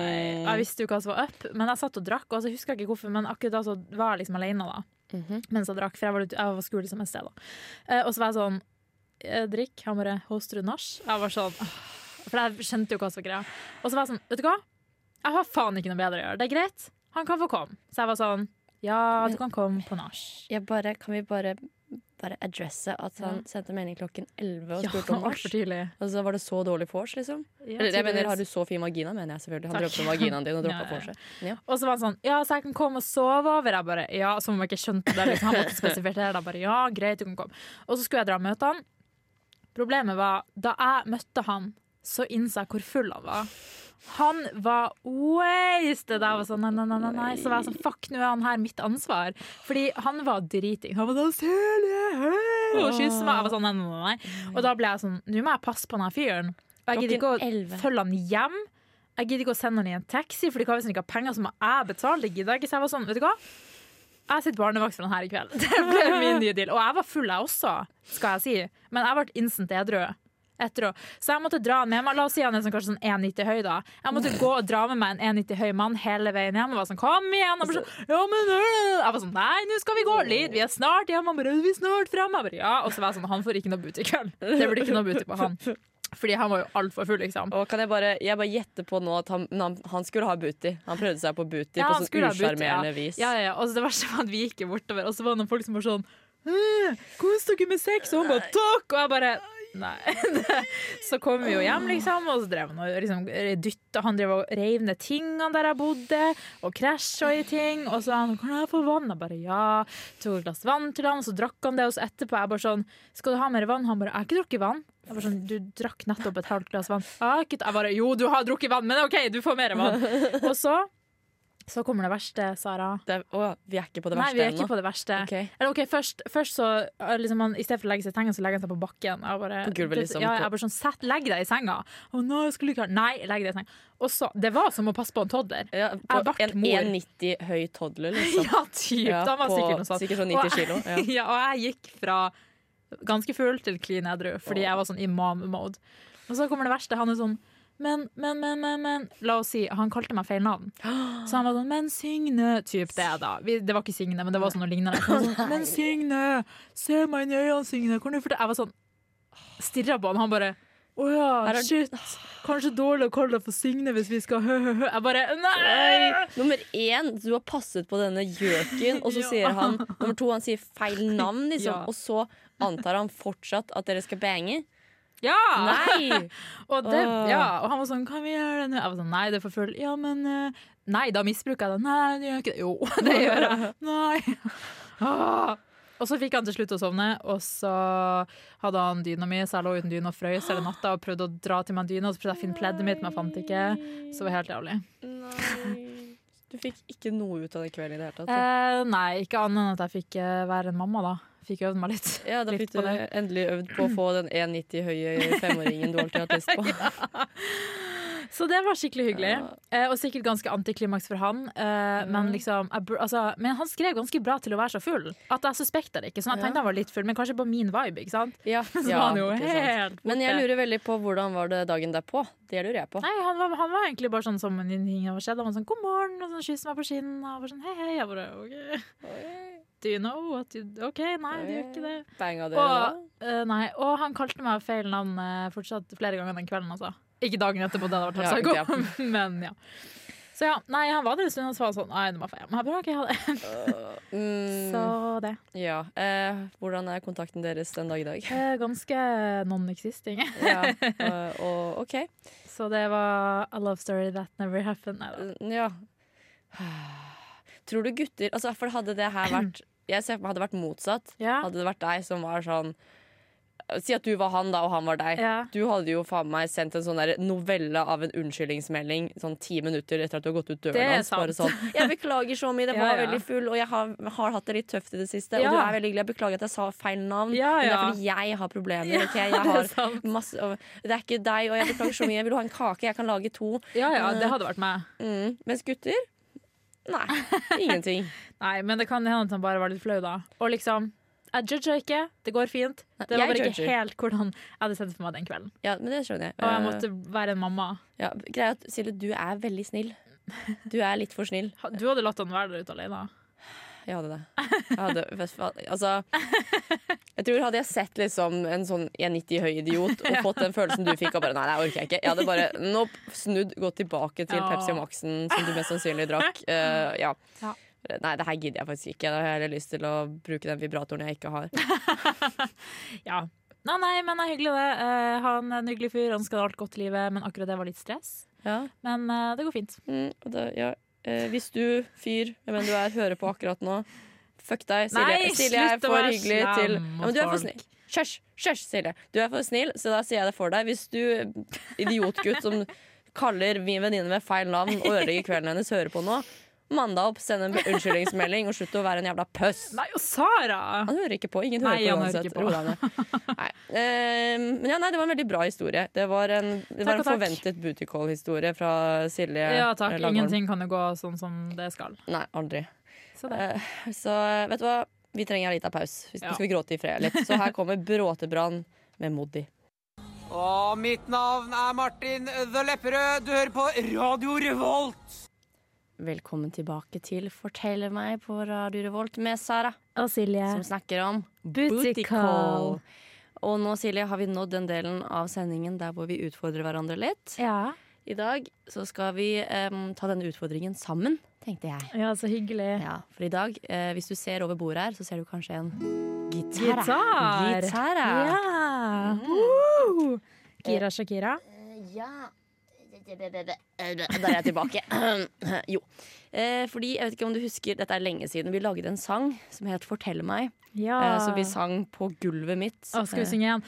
[SPEAKER 4] Jeg visste jo hva som var up, men jeg satt og drakk, og så husker jeg ikke hvorfor, men akkurat da så var jeg liksom alene da,
[SPEAKER 1] Mhm.
[SPEAKER 4] mens jeg drakk, for jeg var, ute- jeg var skole som et sted da. Eh, Og så var jeg sånn «Eh, Drikk. Han bare Hoster du nach? Jeg var sånn «Åh», For jeg skjønte jo hva som var greia. Og så var jeg sånn Vet du hva? Jeg har faen ikke noe bedre å gjøre. Det er greit. Han kan få komme. Så jeg var sånn Ja, du kan komme på nach.
[SPEAKER 1] Jeg bare, kan vi bare, bare adresse at han
[SPEAKER 4] Ja.
[SPEAKER 1] sendte melding klokken 11 og
[SPEAKER 4] Ja,
[SPEAKER 1] spurte om
[SPEAKER 4] altfor
[SPEAKER 1] vors?
[SPEAKER 4] tidlig.
[SPEAKER 1] Og så Altså, var det så dårlig vors, liksom? Eller, jeg mener, har du så fin vagina, mener jeg selvfølgelig. Han
[SPEAKER 4] Takk.
[SPEAKER 1] drømte om vaginaen din og droppa
[SPEAKER 4] Ja, ja.
[SPEAKER 1] vorset.
[SPEAKER 4] Og så var han sånn Ja, så jeg kan komme og sove over. Jeg bare Ja, som om jeg ikke skjønte det. Liksom. Han måtte spesifisere det. Jeg bare Ja, greit, du kan komme. Og så skulle jeg dra og møte han. Problemet var da jeg møtte han, så innså jeg hvor full han var. Han var wasted! Jeg var sånn nei, nei, nei, nei, nei. Så var jeg sånn fuck, nå er han her mitt ansvar. Fordi han var driting. Han var sånn Silje, hei! og kyss meg. Jeg var sånn, nei, nei, nei, nei. Og da ble jeg sånn Nå må jeg passe på den her fyren. Og jeg gidder ikke å
[SPEAKER 5] Klokken 11.
[SPEAKER 4] følge han hjem. Jeg gidder ikke å sende han i en taxi, Fordi hva hvis han ikke har penger, så må jeg betale. Det gidder jeg ikke. Så jeg var sånn, vet du hva? Jeg sitter barnevakt for han her i kveld. Det ble min nye deal. Og jeg var full, jeg også, skal jeg si. Men jeg ble instant edru. Etter å- Så jeg måtte dra han med meg. La oss si han er sånn, kanskje sånn 1,90 høy, da. Jeg måtte gå og dra med meg en 1,90 høy mann hele veien hjem. Og var sånn, kom igjen! Og bare sånn, ja, men øh. Jeg var sånn, nei, nå skal vi gå litt. Vi er snart hjemme. Han bare, vi er snart fremme. Jeg bare, ja. Og så var jeg sånn, han får ikke noe booty i kveld. Det blir ikke noe booty på han. Fordi han var jo altfor full, liksom.
[SPEAKER 1] Og kan jeg bare, jeg bare gjetter på nå at han, han, han skulle ha booty. Han prøvde seg på booty
[SPEAKER 4] Ja,
[SPEAKER 1] på
[SPEAKER 4] han
[SPEAKER 1] sånn
[SPEAKER 4] skulle ha booty,
[SPEAKER 1] usjarmerende vis.
[SPEAKER 4] Ja, ja, ja. Og så det verste var at vi gikk jo bortover, og så var det noen folk som var sånn «Øh, Kos dere med sex! Og hun bare takk! Og jeg bare Nei. Så kom vi jo hjem, liksom, og så drev han og liksom, dytta Han drev og reiv ned tingene der jeg bodde, og krasja i ting. Og så han 'Kan jeg få vann?' Jeg bare ja. Tok et glass vann til han, og så drakk han det. Og så etterpå jeg bare sånn 'Skal du ha mer vann?' Han bare 'Jeg har ikke drukket vann'. Jeg bare sånn, Du drakk nettopp et halvt glass vann. Jeg, har ikke, jeg bare 'Jo, du har drukket vann, men OK, du får mer vann'. Og så så kommer det verste, Sara.
[SPEAKER 1] Det, er- å, vi er ikke på det
[SPEAKER 4] Nei, vi
[SPEAKER 1] verste
[SPEAKER 4] er ikke
[SPEAKER 1] ennå.
[SPEAKER 4] på det verste.
[SPEAKER 1] Ok.
[SPEAKER 4] Eller ok, Først, først så eh, liksom han, I stedet for å legge seg i senga, så legger han seg på bakken. Jeg bare,
[SPEAKER 1] På gulvet, liksom.
[SPEAKER 4] Ja, jeg bare sånn, sett, Legg deg i senga! Å nei, jeg skulle ikke ha- Nei, legg deg i senga. Og så, Det var som å passe på en toddler.
[SPEAKER 1] Ja,
[SPEAKER 4] Jeg
[SPEAKER 1] på
[SPEAKER 4] vart
[SPEAKER 1] en
[SPEAKER 4] mor.
[SPEAKER 1] 1,90 høy toddler, liksom.
[SPEAKER 4] Ja, typ!
[SPEAKER 1] Ja,
[SPEAKER 4] da var
[SPEAKER 1] på
[SPEAKER 4] sikkert noe sånt.
[SPEAKER 1] sikkert sånn 90
[SPEAKER 4] Og jeg-
[SPEAKER 1] kilo. Ja.
[SPEAKER 4] ja, og jeg gikk fra ganske full til clean edru, fordi jeg var sånn imam-mode. Og så kommer det verste. Han er sånn men, men, men, men, men La oss si han kalte meg feil navn. Så han var sånn Men Signe Typ det, da. Vi, det var ikke Signe, men det var sånn noe lignende. Han var Sånn, men Signe! Se meg inn i øynene, Signe! Kan du fortelle Jeg var sånn Stirra på han, han bare å
[SPEAKER 1] Her
[SPEAKER 4] ja,
[SPEAKER 1] er-
[SPEAKER 4] shit. Kanskje dårlig å kalle deg for Signe hvis vi skal hø-hø-hø. Jeg bare Nei!
[SPEAKER 1] Oi, nummer én, du har passet på denne gjøken, og så
[SPEAKER 4] Ja.
[SPEAKER 1] sier han Nummer to, han sier feil navn, liksom.
[SPEAKER 4] Ja.
[SPEAKER 1] Og så antar han fortsatt at dere skal bange.
[SPEAKER 4] Ja!
[SPEAKER 1] Nei!
[SPEAKER 4] Og, det,
[SPEAKER 1] Åh.
[SPEAKER 4] ja, og han var sånn 'Kan vi gjøre det nå?' Jeg var sånn 'Nei, det er for full'. Ja, men eh, Nei, da misbruker jeg det. Nei, det gjør jeg ikke det. Jo, det gjør jeg. Nei. Ah. Og så fikk han til slutt å sovne, og så hadde han dyna mi, så jeg lå uten dyne og frøs hele natta og prøvde å dra til meg dyna, og så prøvde jeg å finne pleddet mitt, men jeg fant ikke. Så det var helt jævlig.
[SPEAKER 1] Du fikk ikke noe ut av den kvelden i det hele tatt. du.
[SPEAKER 4] Eh, nei, ikke annet enn at jeg fikk eh, være en mamma, da. Fikk øvd meg litt.
[SPEAKER 1] Ja, da
[SPEAKER 4] litt
[SPEAKER 1] fikk du
[SPEAKER 4] på det.
[SPEAKER 1] endelig øvd på å få den 1,90 høye femåringen du alltid har hatt lyst på.
[SPEAKER 4] Så det var skikkelig hyggelig.
[SPEAKER 1] Ja. Mhm.
[SPEAKER 4] Eh, og sikkert ganske antiklimaks for han. Eh, men, liksom, jeg, bur- altså, men han skrev ganske bra til å være så full at jeg suspekta det ikke. Så jeg tenkte han var litt full, men kanskje på min vibe. ikke sant?
[SPEAKER 1] Ja,
[SPEAKER 4] Så
[SPEAKER 1] ja,
[SPEAKER 4] var han jo
[SPEAKER 1] ikke sant.
[SPEAKER 4] helt borte.
[SPEAKER 1] Men jeg lurer veldig på hvordan var det dagen derpå. Det lurer jeg på.
[SPEAKER 4] Nei, han var, han var egentlig bare sånn som om ingenting hadde skjedd. Han var sånn 'god morgen', og sånn kysset meg på kinnet. Og jeg var sånn 'hei, hei'. Jeg bare OK. Do you know what you OK, nei, det
[SPEAKER 1] Eh.
[SPEAKER 4] gjør ikke det.
[SPEAKER 1] Banga dere
[SPEAKER 4] Og,
[SPEAKER 1] da?
[SPEAKER 4] eh, nei, og han kalte meg feil navn eh, fortsatt flere ganger den kvelden, altså. Ikke dagen etterpå, det hadde vært helt
[SPEAKER 1] Ja,
[SPEAKER 4] psyko, men ja. Så ja, nei, han var der en stund og så var han sånn Nei, nå må jeg få hjem. Jeg bare, «Ok, ha det.
[SPEAKER 1] Mm,
[SPEAKER 4] Så det.
[SPEAKER 1] ja. Eh, hvordan er kontakten deres den dag i dag?
[SPEAKER 4] Eh, Ganske non-existing.
[SPEAKER 1] Ja, eh, og OK.
[SPEAKER 4] Så det var a love story that never happened. Nei da.
[SPEAKER 1] Ja. Tror du gutter altså, For hadde det her vært Jeg ser for meg hadde det vært motsatt.
[SPEAKER 4] Ja.
[SPEAKER 1] Hadde det vært deg som var sånn Si at du var han, da, og han var deg.
[SPEAKER 4] Ja.
[SPEAKER 1] Du hadde jo faen meg sendt en sånn der novelle av en unnskyldningsmelding sånn ti minutter etter at du har gått ut døren
[SPEAKER 4] Det er
[SPEAKER 1] hans. Bare
[SPEAKER 4] sant.
[SPEAKER 1] sånn 'Jeg beklager så mye, jeg
[SPEAKER 4] Ja,
[SPEAKER 1] var
[SPEAKER 4] ja.
[SPEAKER 1] veldig full, og jeg har, har hatt det litt tøft i det siste.'
[SPEAKER 4] Ja.
[SPEAKER 1] Og du er veldig hyggelig. Jeg beklager at jeg sa feil navn,
[SPEAKER 4] Ja,
[SPEAKER 1] men det er
[SPEAKER 4] ja.
[SPEAKER 1] fordi jeg har problemer. ok?
[SPEAKER 4] det er sånn.
[SPEAKER 1] Jeg har
[SPEAKER 4] sant.
[SPEAKER 1] masse, og det er ikke deg, og jeg beklager så mye. Jeg vil ha en kake. Jeg kan lage to.
[SPEAKER 4] Ja ja, det hadde vært meg.
[SPEAKER 1] Mm. Mens gutter Nei, ingenting.
[SPEAKER 4] Nei, men det kan hende at han bare var litt flau, da. Og liksom, jeg judger ikke. Det går fint. Det var
[SPEAKER 1] jeg
[SPEAKER 4] bare
[SPEAKER 1] judger.
[SPEAKER 4] ikke helt hvordan jeg hadde sett det for meg den kvelden.
[SPEAKER 1] Ja, men det skjønner jeg.
[SPEAKER 4] Og jeg
[SPEAKER 1] Eh,
[SPEAKER 4] måtte være en mamma.
[SPEAKER 1] ja, greia er at Silje, du er veldig snill. Du er litt for snill.
[SPEAKER 4] Ha- Du hadde latt han være der ute alene.
[SPEAKER 1] Jeg hadde det. Jeg hadde, vet du hva, altså, jeg tror Hadde jeg sett liksom en sånn 1,90 høy idiot og fått den følelsen du fikk og bare Nei, det orker jeg ikke. Jeg hadde bare nope, snudd, gått tilbake til
[SPEAKER 4] Ja.
[SPEAKER 1] Pepsi Max-en som du mest sannsynlig drakk. Eh, ja.
[SPEAKER 4] Ja.
[SPEAKER 1] Nei, det her gidder jeg faktisk ikke. Da har jeg heller lyst til å bruke den vibratoren jeg ikke har.
[SPEAKER 4] Ja. Nei, nei, men det er hyggelig det. Eh, han er en hyggelig fyr, han skal ha alt godt i livet, men akkurat det var litt stress.
[SPEAKER 1] Ja.
[SPEAKER 4] Men eh, det går fint.
[SPEAKER 1] Mm, og da, ja. eh, hvis du, fyr, hvem enn du er, hører på akkurat nå, fuck deg, Silje.
[SPEAKER 4] Nei,
[SPEAKER 1] Silje er
[SPEAKER 4] slutt å
[SPEAKER 1] for
[SPEAKER 4] være
[SPEAKER 1] hyggelig
[SPEAKER 4] slem
[SPEAKER 1] til ja,
[SPEAKER 4] mot
[SPEAKER 1] men Du er for
[SPEAKER 4] folk.
[SPEAKER 1] snill. Kjørs, kjørs, Silje. Du er for snill, så da sier jeg det for deg. Hvis du idiotgutt som kaller min venninne med feil navn og ødelegger kvelden hennes, hører på nå, Mann deg opp, send en unnskyldningsmelding og slutt å være en jævla pøss.
[SPEAKER 4] Nei, og Sara!
[SPEAKER 1] Han hører ikke på. Ingen
[SPEAKER 4] Nei,
[SPEAKER 1] hører på
[SPEAKER 4] han hører
[SPEAKER 1] uansett.
[SPEAKER 4] ikke på.
[SPEAKER 1] Ro deg ned. Nei. Eh, men ja, nei, det var en veldig bra historie. Det var en, det var
[SPEAKER 4] Takk
[SPEAKER 1] en
[SPEAKER 4] og takk.
[SPEAKER 1] forventet booty call-historie fra Silje
[SPEAKER 4] Ja takk,
[SPEAKER 1] Langholm.
[SPEAKER 4] ingenting kan jo gå sånn som det skal.
[SPEAKER 1] Nei, aldri.
[SPEAKER 4] Så det.
[SPEAKER 1] Eh, så vet du hva, vi trenger en liten pause. Hvis
[SPEAKER 4] Ja.
[SPEAKER 1] Nå skal vi gråte i fred litt. Så her kommer Bråtebrann med Moddi.
[SPEAKER 2] Og mitt navn er Martin The Lepperød. Du hører på Radio Revolt.
[SPEAKER 1] Velkommen tilbake til Fortell meg på Radio Revolt med Sara,
[SPEAKER 7] Og Silje.
[SPEAKER 1] som snakker om
[SPEAKER 7] Booty call.
[SPEAKER 1] Og nå, Silje, har vi nådd den delen av sendingen der hvor vi utfordrer hverandre litt.
[SPEAKER 7] Ja.
[SPEAKER 1] I dag så skal vi em, ta denne utfordringen sammen, tenkte jeg.
[SPEAKER 7] ja, så hyggelig.
[SPEAKER 1] Ja, for i dag, eh, hvis du ser over bordet her, så ser du kanskje en gitar.
[SPEAKER 7] Gitar.
[SPEAKER 1] Gitar, ja. Mm. Eh,
[SPEAKER 7] Ja. Woo! Gira Shakira.
[SPEAKER 1] Ja. Der er jeg tilbake. jo. Eh, fordi, jeg vet ikke om du husker, dette er lenge siden, vi lagde en sang som het 'Fortell meg'.
[SPEAKER 7] Ja.
[SPEAKER 1] eh, som vi sang på gulvet mitt.
[SPEAKER 4] Ah. Å, skal vi synge igjen?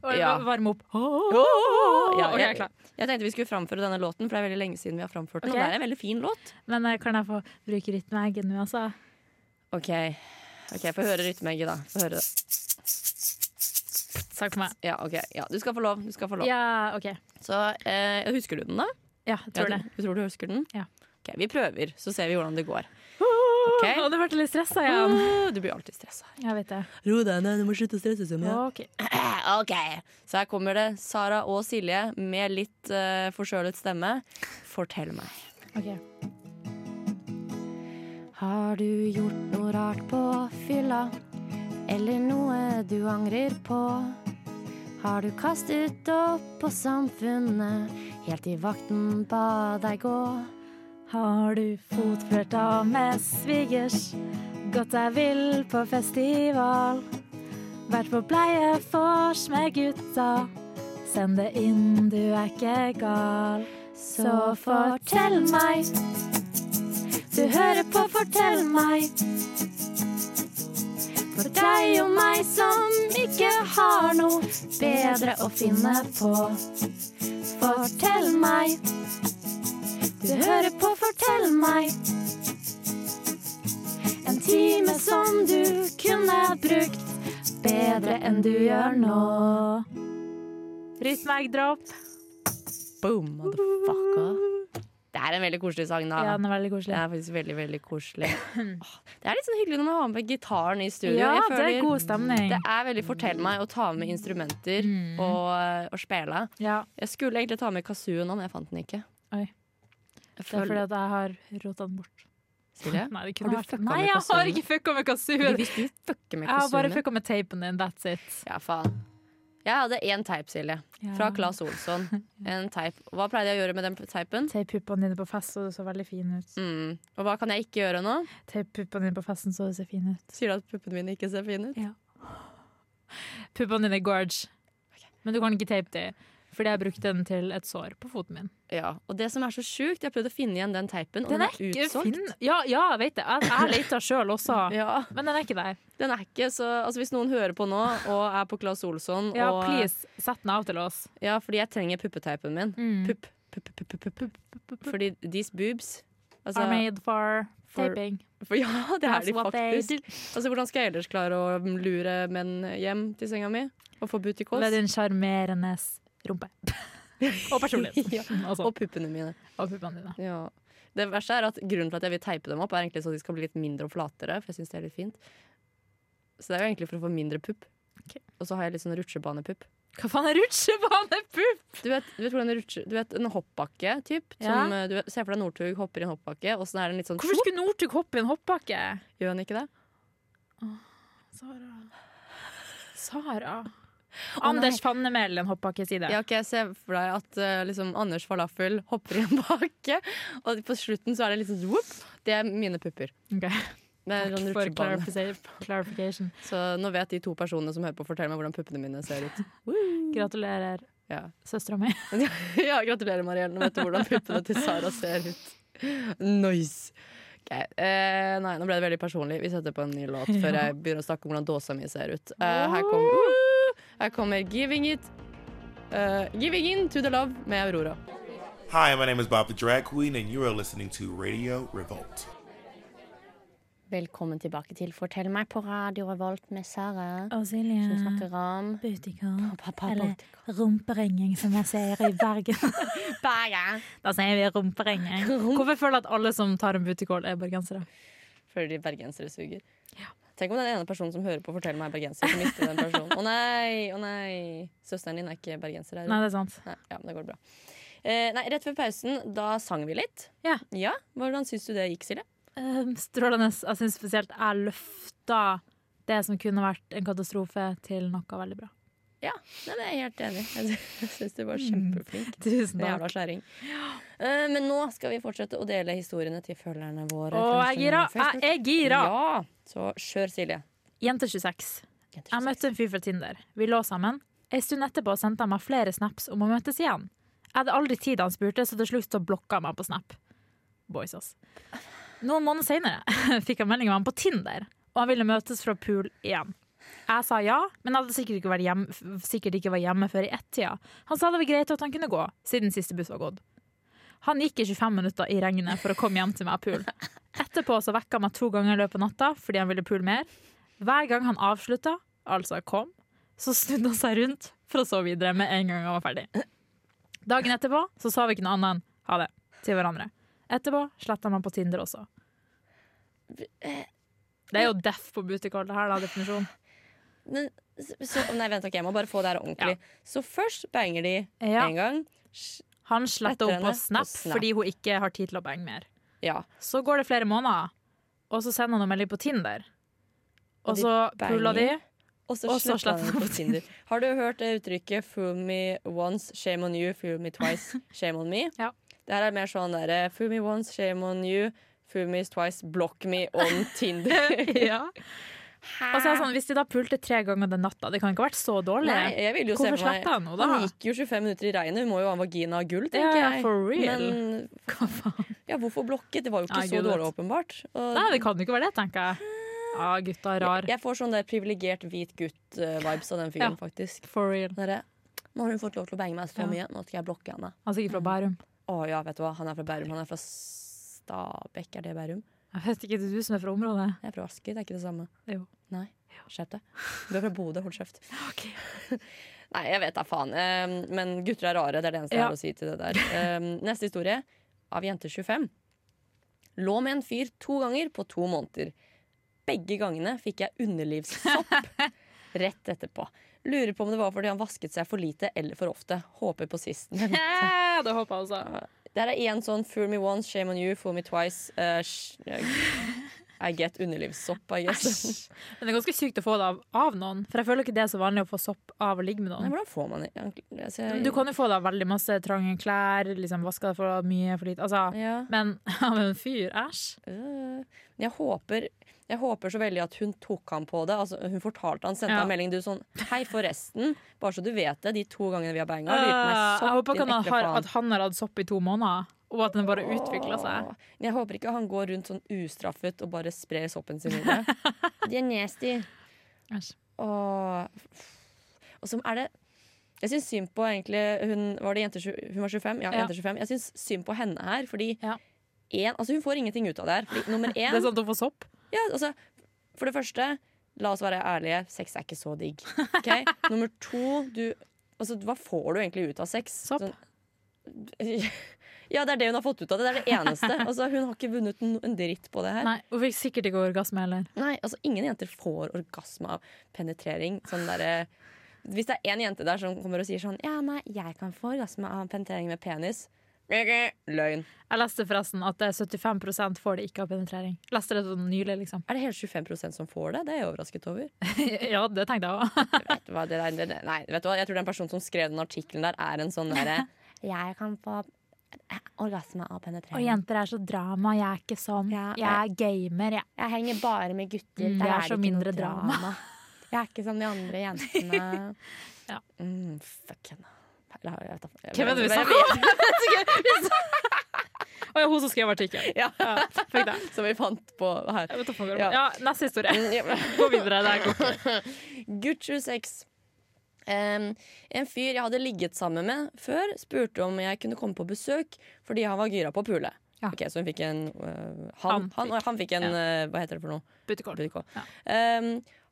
[SPEAKER 4] Og
[SPEAKER 1] Ja.
[SPEAKER 4] Varme opp.
[SPEAKER 1] Eh, ja,
[SPEAKER 4] Ok, jeg er
[SPEAKER 1] jeg,
[SPEAKER 4] klar.
[SPEAKER 1] jeg tenkte vi skulle framføre denne låten, for det er veldig lenge siden vi har framført den.
[SPEAKER 4] Ok.
[SPEAKER 1] Og det er en veldig fin låt.
[SPEAKER 4] Men eh, kan jeg få bruke rytmeegget nå, altså?
[SPEAKER 1] Ok, Ok, Få høre rytmeegget, da. Få høre det.
[SPEAKER 4] Takk for meg.
[SPEAKER 1] Ja, ok. Ja, du skal få lov. Du skal få lov.
[SPEAKER 4] Ja, OK.
[SPEAKER 1] Så eh, husker du den, da?
[SPEAKER 4] Ja, jeg tror
[SPEAKER 1] Ja,
[SPEAKER 4] det.
[SPEAKER 1] du, du tror du husker den?
[SPEAKER 4] Ja.
[SPEAKER 1] Ok, Vi prøver, så ser vi hvordan det går.
[SPEAKER 4] Å, nå ble jeg litt stressa igjen.
[SPEAKER 1] Ah, Du blir alltid stressa.
[SPEAKER 4] Jeg vet det.
[SPEAKER 1] Ro deg ned, du må slutte å stresse så
[SPEAKER 4] Ok.
[SPEAKER 1] Eh, Ok, Så her kommer det Sara og Silje med litt uh, forskjølet stemme. Fortell meg.
[SPEAKER 4] Ok.
[SPEAKER 5] Har du gjort noe rart på fylla? Eller noe du angrer på? Har du kastet opp på samfunnet? Helt til vakten ba deg gå?
[SPEAKER 7] Har du fotflørta med svigers? Gått deg vill på festival? Vært på bleiefors med gutta? Send det inn, du er ikke gal. Så fortell meg. Du hører på Fortell meg. For deg og meg som ikke har noe bedre å finne på. Fortell meg. Du hører på Fortell meg. En time som du kunne brukt bedre enn du gjør nå.
[SPEAKER 4] Rytmeegg-dropp.
[SPEAKER 1] Boom, motherfucker. Det er en veldig koselig sang, da.
[SPEAKER 4] Ja, den er veldig
[SPEAKER 1] Det
[SPEAKER 4] koselig.
[SPEAKER 1] er faktisk veldig, veldig koselig. Åh, Det er litt sånn hyggelig når man har med gitaren i studio.
[SPEAKER 4] Ja,
[SPEAKER 1] Jeg
[SPEAKER 4] det er
[SPEAKER 1] føler-
[SPEAKER 4] god stemning.
[SPEAKER 1] Det er veldig fortell meg å ta med instrumenter
[SPEAKER 4] Mm.
[SPEAKER 1] og, og spille.
[SPEAKER 4] Ja,
[SPEAKER 1] Jeg skulle egentlig ta med kazoo nå, men jeg fant den ikke.
[SPEAKER 4] Oi.
[SPEAKER 1] Jeg
[SPEAKER 4] det er fordi
[SPEAKER 1] føler,
[SPEAKER 4] at jeg har rota den bort.
[SPEAKER 1] Silje,
[SPEAKER 4] Nei, det
[SPEAKER 1] Har
[SPEAKER 4] kunne
[SPEAKER 1] du
[SPEAKER 4] vært
[SPEAKER 1] fucka
[SPEAKER 4] Nei,
[SPEAKER 1] med
[SPEAKER 4] jeg
[SPEAKER 1] kassoen?
[SPEAKER 4] har ikke fucka med
[SPEAKER 1] du
[SPEAKER 4] kassuren!
[SPEAKER 1] visste du fucka med
[SPEAKER 4] Jeg har bare
[SPEAKER 1] kazooen.
[SPEAKER 4] fucka med tapen din, that's it.
[SPEAKER 1] Ja, faen. Jeg hadde én teip, Silje. Fra
[SPEAKER 4] Ja.
[SPEAKER 1] Claes Olsson. En teip. Hva pleide jeg å gjøre med den teipen?
[SPEAKER 4] Teip puppene dine på fest, så du så veldig fin ut.
[SPEAKER 1] Mm. Og hva kan jeg ikke gjøre nå?
[SPEAKER 4] Teip puppene dine på festen, så du ser fin ut.
[SPEAKER 1] Sier du at puppene mine ikke ser fine ut?
[SPEAKER 4] Puppene dine er gorge, men du kan ikke teipe dem. Fordi jeg brukte den til et sår på foten min.
[SPEAKER 1] Ja, Og det som er så sjukt, jeg har prøvd å finne igjen den teipen, og den, er, utsolgt.
[SPEAKER 4] fin. Ja, ja, jeg vet det. Jeg, jeg leita sjøl også,
[SPEAKER 1] Ja,
[SPEAKER 4] men den er ikke der.
[SPEAKER 1] den er ikke så altså Hvis noen hører på nå og er på Claes Olsson
[SPEAKER 4] Ja,
[SPEAKER 1] og
[SPEAKER 4] please, sett den av til oss.
[SPEAKER 1] Ja, fordi jeg trenger puppeteipen min.
[SPEAKER 4] Mm.
[SPEAKER 1] Pupp, pupp, pupp, pupp, pupp, pupp. Fordi these boobs altså,
[SPEAKER 4] Are made for,
[SPEAKER 1] for-
[SPEAKER 4] taping.
[SPEAKER 1] for Ja, det er
[SPEAKER 4] That's
[SPEAKER 1] de
[SPEAKER 4] what they
[SPEAKER 1] faktisk. Altså, Hvordan skal jeg ellers klare å lure menn hjem til senga mi? Og få booty calls?
[SPEAKER 4] Ved din sjarmerende rumpe. Og personlighet.
[SPEAKER 1] Ja.
[SPEAKER 4] Altså,
[SPEAKER 1] Og puppene mine.
[SPEAKER 4] og puppene dine.
[SPEAKER 1] Ja. Det verste er at Grunnen til at jeg vil teipe dem opp, er egentlig så de skal bli litt mindre og flatere. For jeg synes det er litt fint Så det er jo egentlig for å få mindre pupp.
[SPEAKER 4] Ok.
[SPEAKER 1] Og så har jeg litt sånn rutsjebanepupp.
[SPEAKER 4] Hva faen er rutsjebanepupp?
[SPEAKER 1] Du vet, du vet hvordan en rutsje Du vet en hoppbakke, typ?
[SPEAKER 4] Ja.
[SPEAKER 1] Som, eh, du ser for deg Northug hopper i en hoppbakke, og så er det en litt sånn
[SPEAKER 4] Hvorfor skulle Northug hoppe i en hoppbakke?
[SPEAKER 1] Gjør han ikke det?
[SPEAKER 4] Sara. Sara. Anders Fannemel, en hoppbakke, si det.
[SPEAKER 1] Ja, ok, Se for deg at eh, liksom Anders Falafel hopper i en bakke, og på slutten så er det liksom whoop, Det er mine pupper.
[SPEAKER 4] Ok.
[SPEAKER 1] Det er
[SPEAKER 4] Takk
[SPEAKER 1] sånn
[SPEAKER 4] for
[SPEAKER 1] rutsjebane.
[SPEAKER 4] clarif- clarification.
[SPEAKER 1] Så nå vet de to personene som hører på, fortell meg hvordan puppene mine ser ut.
[SPEAKER 4] Gratulerer,
[SPEAKER 1] Ja,
[SPEAKER 4] søstera mi.
[SPEAKER 1] ja gratulerer, Mariell. Nå vet du hvordan puppene til Sara ser ut. Nice. Ok, Eh, nei, nå ble det veldig personlig. Vi setter på en ny låt før jeg begynner å snakke om hvordan dåsa mi ser ut. Eh, her, uh, kommer, her kommer 'Giving It'. eh, 'Giving In To The Love' med Aurora.
[SPEAKER 8] Hi, my name is Bob the Drag Queen, and you are listening to Radio Revolt.
[SPEAKER 5] Velkommen tilbake til Fortell meg på Radio Revolt med Sara,
[SPEAKER 7] Og
[SPEAKER 5] som
[SPEAKER 7] Silje.
[SPEAKER 5] snakker om
[SPEAKER 7] Butikon.
[SPEAKER 5] pappa
[SPEAKER 7] Eller rumperinging, som jeg sier i Bergen. Da sier vi rumperinging.
[SPEAKER 4] Hvorfor føler jeg at alle som tar en butikål, er bergensere?
[SPEAKER 1] Fordi bergensere suger. Tenk om det er den ene personen som hører på Fortell meg er bergenser, som mister den personen. Å nei, å nei. Søsteren din er ikke bergenser. Er
[SPEAKER 4] Nei,
[SPEAKER 1] hun?
[SPEAKER 4] det er sant.
[SPEAKER 1] Nei, ja, men det går bra. Eh, nei, rett før pausen, da sang vi litt.
[SPEAKER 4] Ja.
[SPEAKER 1] Hvordan syns du det gikk, Silje?
[SPEAKER 7] Um,
[SPEAKER 4] Ehm, strålende. Jeg syns spesielt jeg løfta det som kunne vært en katastrofe, til noe veldig bra.
[SPEAKER 1] Ja, nei, men jeg er helt enig. Jeg sy- Jeg syns du var kjempeflink.
[SPEAKER 4] Tusen
[SPEAKER 1] Det er
[SPEAKER 4] Mm. takk.
[SPEAKER 1] Jævla kjerring. Eh, men nå skal vi fortsette å dele historiene til følgerne våre.
[SPEAKER 4] Å, jeg er gira! Jeg er gira!
[SPEAKER 1] Ja, så kjør, Silje.
[SPEAKER 4] Jente 26.
[SPEAKER 1] Jenter
[SPEAKER 4] Jeg møtte en fyr fra Tinder. Vi lå sammen. En stund etterpå sendte han meg flere snaps om å møtes igjen. Jeg hadde aldri tid da han spurte, så til slutt så blokka han meg på Snap. Boys, ass. Noen måneder senere fikk han melding om han på Tinder, og han ville møtes fra pool igjen. Jeg sa ja, men hadde sikkert ikke vært hjemme, f- sikkert ikke vært hjemme før i ett-tida. Han sa det var greit og at han kunne gå, siden siste buss var gått. Han gikk i 25 minutter i regnet for å komme hjem til meg og pool. Etterpå så vekka han meg to ganger i løpet av natta fordi han ville pool mer. Hver gang han avslutta, altså kom, så snudde han seg rundt for å sove videre med en gang han var ferdig. Dagen etterpå så sa vi ikke noe annet enn ha det til hverandre. Etterpå sletta man på Tinder også. Det er jo deff på butikkhold, det her, da, definisjonen.
[SPEAKER 1] Men, så, nei, vent, ok, jeg må bare få det her ordentlig. Så først banger de
[SPEAKER 4] Ja,
[SPEAKER 1] en gang.
[SPEAKER 4] han
[SPEAKER 1] Etter
[SPEAKER 4] sletta opp på
[SPEAKER 1] henne,
[SPEAKER 4] snap,
[SPEAKER 1] på Snap.
[SPEAKER 4] fordi hun ikke har tid til å bange mer.
[SPEAKER 1] Ja.
[SPEAKER 4] Så går det flere måneder, og så sender han en melding på Tinder.
[SPEAKER 1] Og
[SPEAKER 4] Og
[SPEAKER 1] de
[SPEAKER 4] så
[SPEAKER 1] banger.
[SPEAKER 4] pulla de.
[SPEAKER 1] Og så
[SPEAKER 4] Og så
[SPEAKER 1] sletta
[SPEAKER 4] sletta
[SPEAKER 1] han på Tinder. Har du hørt det uttrykket 'fool me once, shame on you', 'fool me twice, shame on me'?
[SPEAKER 4] Ja.
[SPEAKER 1] Det her er mer sånn derre 'fool me once, shame on you', 'fool me twice, block me on Tinder'.
[SPEAKER 4] Ja. Og så er det sånn, Hvis de da pulte tre ganger den natta, det kan ikke ha vært så dårlig?
[SPEAKER 1] Nei, jeg ville jo
[SPEAKER 4] Hvorfor
[SPEAKER 1] se for meg
[SPEAKER 4] sletta han henne da?
[SPEAKER 1] Han gikk jo 25 minutter i regnet, hun må jo ha en vagina av gull, tenker
[SPEAKER 4] Ja,
[SPEAKER 1] jeg.
[SPEAKER 4] for real.
[SPEAKER 1] Men
[SPEAKER 4] Hva faen?
[SPEAKER 1] ja, hvorfor blokket? Det var jo ikke
[SPEAKER 4] Nei,
[SPEAKER 1] så
[SPEAKER 4] gud vet.
[SPEAKER 1] dårlig, åpenbart. Og
[SPEAKER 4] Nei, det kan jo ikke være det, tenker jeg. Ja, gutta er rar.
[SPEAKER 1] jeg får sånn der privilegert hvit gutt-vibes av den fyren,
[SPEAKER 4] Ja.
[SPEAKER 1] faktisk.
[SPEAKER 4] For real.
[SPEAKER 1] Dere, nå har hun fått lov til å bange meg så
[SPEAKER 4] Ja.
[SPEAKER 1] mye, nå skal jeg blokke henne.
[SPEAKER 4] Han er sikkert Altså, fra Bærum.
[SPEAKER 1] Å ja, vet du hva, han er fra Bærum. Han er fra Stabekk, er det Bærum?
[SPEAKER 4] Jeg vet ikke, det er du som er fra området.
[SPEAKER 1] Jeg er fra Asker, det er ikke det samme.
[SPEAKER 4] Jo.
[SPEAKER 1] Nei, skjerp deg. Du er fra Bodø, hold kjeft. Nei, jeg vet da faen. Ehm, Men gutter er rare, det er det eneste jeg
[SPEAKER 4] Ja.
[SPEAKER 1] har å si til det der. Ehm, Neste historie, av jente 25. Lå med en fyr to ganger på to måneder. Begge gangene fikk jeg underlivssopp rett etterpå. Lurer på om det var fordi han vasket seg for lite eller for ofte. Håper på sisten.
[SPEAKER 4] Ja, det håper jeg også.
[SPEAKER 1] Der er én sånn 'fool me once, shame on you, fool me twice'. eh, sh- I get underlivssopp, I guess.
[SPEAKER 4] Æsj. Men det er ganske sykt å få det av, av noen, for jeg føler ikke det er så vanlig å få sopp av å ligge med
[SPEAKER 1] Nei,
[SPEAKER 4] noen.
[SPEAKER 1] hvordan får man det? egentlig? Altså, jeg-
[SPEAKER 4] Du kan jo få det av veldig masse trange klær, liksom vaska deg for mye, for lite, altså.
[SPEAKER 1] ja.
[SPEAKER 4] Men av en fyr, æsj.
[SPEAKER 1] øh. Men jeg håper Jeg håper så veldig at hun tok ham på det. Altså, hun fortalte han, sendte
[SPEAKER 4] Ja.
[SPEAKER 1] han melding du sånn 'Hei, forresten. Bare så du vet det, de to gangene vi har banga, lurer på meg
[SPEAKER 4] Eh, Jeg
[SPEAKER 1] sopp,
[SPEAKER 4] håper
[SPEAKER 1] din
[SPEAKER 4] ikke han
[SPEAKER 1] ekle
[SPEAKER 4] har,
[SPEAKER 1] faen.»
[SPEAKER 4] at han har hatt sopp i to måneder, og at den bare utvikla seg.
[SPEAKER 1] Åh. Men Jeg håper ikke han går rundt sånn ustraffet og bare sprer soppen sin videre. de er nasty.
[SPEAKER 4] Æsj.
[SPEAKER 1] Åh. Og så er det Jeg syns synd på egentlig Hun var, det jente, tju- hun var 25? Ja,
[SPEAKER 4] Ja.
[SPEAKER 1] jente 25. Jeg syns synd på henne her, fordi
[SPEAKER 4] Ja.
[SPEAKER 1] en, altså hun får ingenting ut av det her. Fordi, nummer
[SPEAKER 4] Det er
[SPEAKER 1] én
[SPEAKER 4] sånn at hun får sopp.
[SPEAKER 1] ja, altså, For det første, la oss være ærlige, sex er ikke så digg. ok? nummer to, du Altså, hva får du egentlig ut av sex?
[SPEAKER 4] Sopp.
[SPEAKER 1] Sånn- ja, det er det hun har fått ut av det. Det er det eneste. Altså, hun har ikke vunnet no- en dritt på det her.
[SPEAKER 4] Nei, Hun fikk sikkert ikke orgasme heller.
[SPEAKER 1] Nei, altså ingen jenter får orgasme av penetrering. Sånn derre Hvis det er én jente der som kommer og sier sånn Ja, nei, jeg kan få orgasme av penetrering med penis. Løgn.
[SPEAKER 4] Jeg leste forresten at det er 75 får det ikke av penetrering. Jeg leste det sånn nylig, liksom.
[SPEAKER 1] Er det hele 25 som får det? Det er jeg overrasket over.
[SPEAKER 4] ja, det tenkte jeg òg.
[SPEAKER 1] Vet du hva, det der, det, det- nei, vet du hva, jeg tror den personen som skrev den artikkelen der, er en sånn derre
[SPEAKER 5] Jeg kan få orgasme av penetrering.
[SPEAKER 7] Og jenter er så drama. Jeg er ikke sånn.
[SPEAKER 5] Ja.
[SPEAKER 7] Jeg er gamer. Jeg.
[SPEAKER 5] Jeg henger bare med gutter.
[SPEAKER 4] Mm,
[SPEAKER 5] Der
[SPEAKER 4] jeg er
[SPEAKER 5] er
[SPEAKER 4] så
[SPEAKER 5] det ikke
[SPEAKER 4] mindre
[SPEAKER 5] noe drama. Jeg er ikke som de andre jentene.
[SPEAKER 4] Ja.
[SPEAKER 1] mm, Fuck henne. Eller, jeg vet da- jeg-
[SPEAKER 4] Hvem er det vi
[SPEAKER 1] jeg-
[SPEAKER 4] snakker om? Å ja, hun som skrev artikkelen.
[SPEAKER 1] Ja,
[SPEAKER 4] Ja, fikk det.
[SPEAKER 1] som vi fant på her. Mm,
[SPEAKER 4] Jeg vet da faen hva det
[SPEAKER 1] Ja.
[SPEAKER 4] var. Ja, neste historie.
[SPEAKER 1] Ja.
[SPEAKER 4] Gå videre. Det er godt.
[SPEAKER 1] Gutt 26 Em, en fyr jeg hadde ligget sammen med før, spurte om jeg kunne komme på besøk fordi han var gira på å pule.
[SPEAKER 4] Ja.
[SPEAKER 1] Ok, så hun fikk en øh,
[SPEAKER 4] Han
[SPEAKER 1] han, han,
[SPEAKER 4] fikk.
[SPEAKER 1] han fikk en
[SPEAKER 4] Ja.
[SPEAKER 1] øh, Hva heter det for noe?
[SPEAKER 4] Butterkål.
[SPEAKER 1] Budkå. Em, Ehm,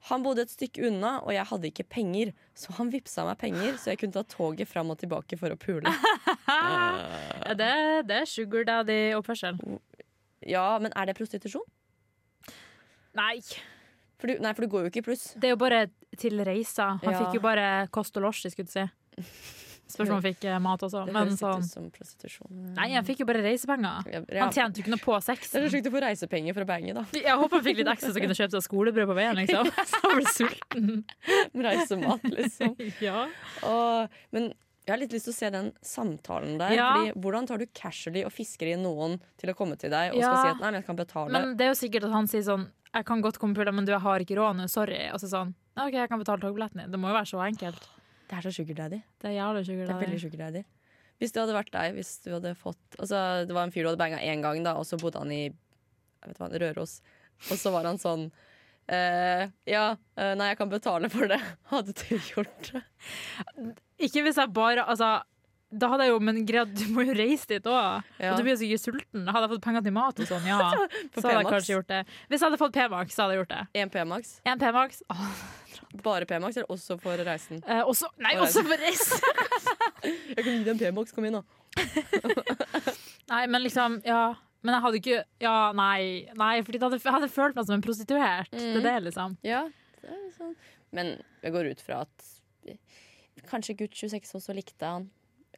[SPEAKER 1] han bodde et stykke unna, og jeg hadde ikke penger, så han vippsa meg penger så jeg kunne ta toget fram og tilbake for å pule.
[SPEAKER 4] Ja, det, det er sugar daddy oppførsel.
[SPEAKER 1] Ja, men er det prostitusjon?
[SPEAKER 4] Nei,
[SPEAKER 1] For du, nei, for du går jo ikke i pluss.
[SPEAKER 4] det er jo bare til reisa. Han
[SPEAKER 1] Ja.
[SPEAKER 4] fikk jo bare kost og losji, skulle jeg si. Spørs om han fikk eh, mat også.
[SPEAKER 1] Det
[SPEAKER 4] Men
[SPEAKER 1] høres ikke
[SPEAKER 4] sånn
[SPEAKER 1] ut som prostitusjon.
[SPEAKER 4] Nei, han fikk jo bare reisepenger.
[SPEAKER 1] Ja, ja.
[SPEAKER 4] Han tjente jo ikke noe
[SPEAKER 1] Det
[SPEAKER 4] på
[SPEAKER 1] er så
[SPEAKER 4] sexen.
[SPEAKER 1] sjukt å få reisepenger for å bange, da.
[SPEAKER 4] Jeg håper han fikk litt ekstra så han kunne kjøpe seg skolebrød på veien, liksom. Så han ble sulten.
[SPEAKER 1] Reisemat, liksom.
[SPEAKER 4] Ja.
[SPEAKER 1] Og, men jeg har litt lyst til å se den samtalen der.
[SPEAKER 4] Ja.
[SPEAKER 1] Fordi, hvordan tar du casually og fisker i noen til å komme til deg og
[SPEAKER 4] Ja.
[SPEAKER 1] skal si at nei, men jeg kan betale?
[SPEAKER 4] Men det er jo sikkert at han sier sånn Jeg kan godt komme på pula, men du, jeg har ikke råd nå, sorry. Og så sånn OK, jeg kan betale togbilletten din. Det må jo være så enkelt.
[SPEAKER 1] det er så sugar daddy.
[SPEAKER 4] Det er jævlig sugar
[SPEAKER 1] Det er
[SPEAKER 4] daddy.
[SPEAKER 1] veldig sugar daddy. Hvis det hadde vært deg, hvis du hadde fått altså, Det var en fyr du hadde banga én gang, da, og så bodde han i jeg vet hva, Røros. Og så var han sånn eh, Ja, eh, nei, jeg kan betale for det. Hadde du gjort det?
[SPEAKER 4] Ikke hvis jeg bare Altså, da hadde jeg jo Men greia, du må jo reise dit òg.
[SPEAKER 1] Ja.
[SPEAKER 4] Og du blir jo sikkert sulten. Hadde jeg fått penger til mat og sånn, ja.
[SPEAKER 1] På
[SPEAKER 4] så hadde jeg
[SPEAKER 1] P-Max.
[SPEAKER 4] kanskje gjort det. Hvis jeg hadde fått P-Max, så hadde jeg gjort det.
[SPEAKER 1] Én P-Max?
[SPEAKER 4] En P-Max. Åh,
[SPEAKER 1] Bare P-Max, eller også for reisen?
[SPEAKER 4] Eh, også, nei, også for reis!
[SPEAKER 1] Jeg kan gi deg en P-Max, kom inn, da.
[SPEAKER 4] Nei, men liksom, ja. Men jeg hadde ikke Ja, nei. nei fordi jeg hadde, jeg hadde følt meg som en prostituert. Det er det, liksom.
[SPEAKER 1] Ja, det er sånn. Men jeg går ut fra at Kanskje gutt 26 også likte han.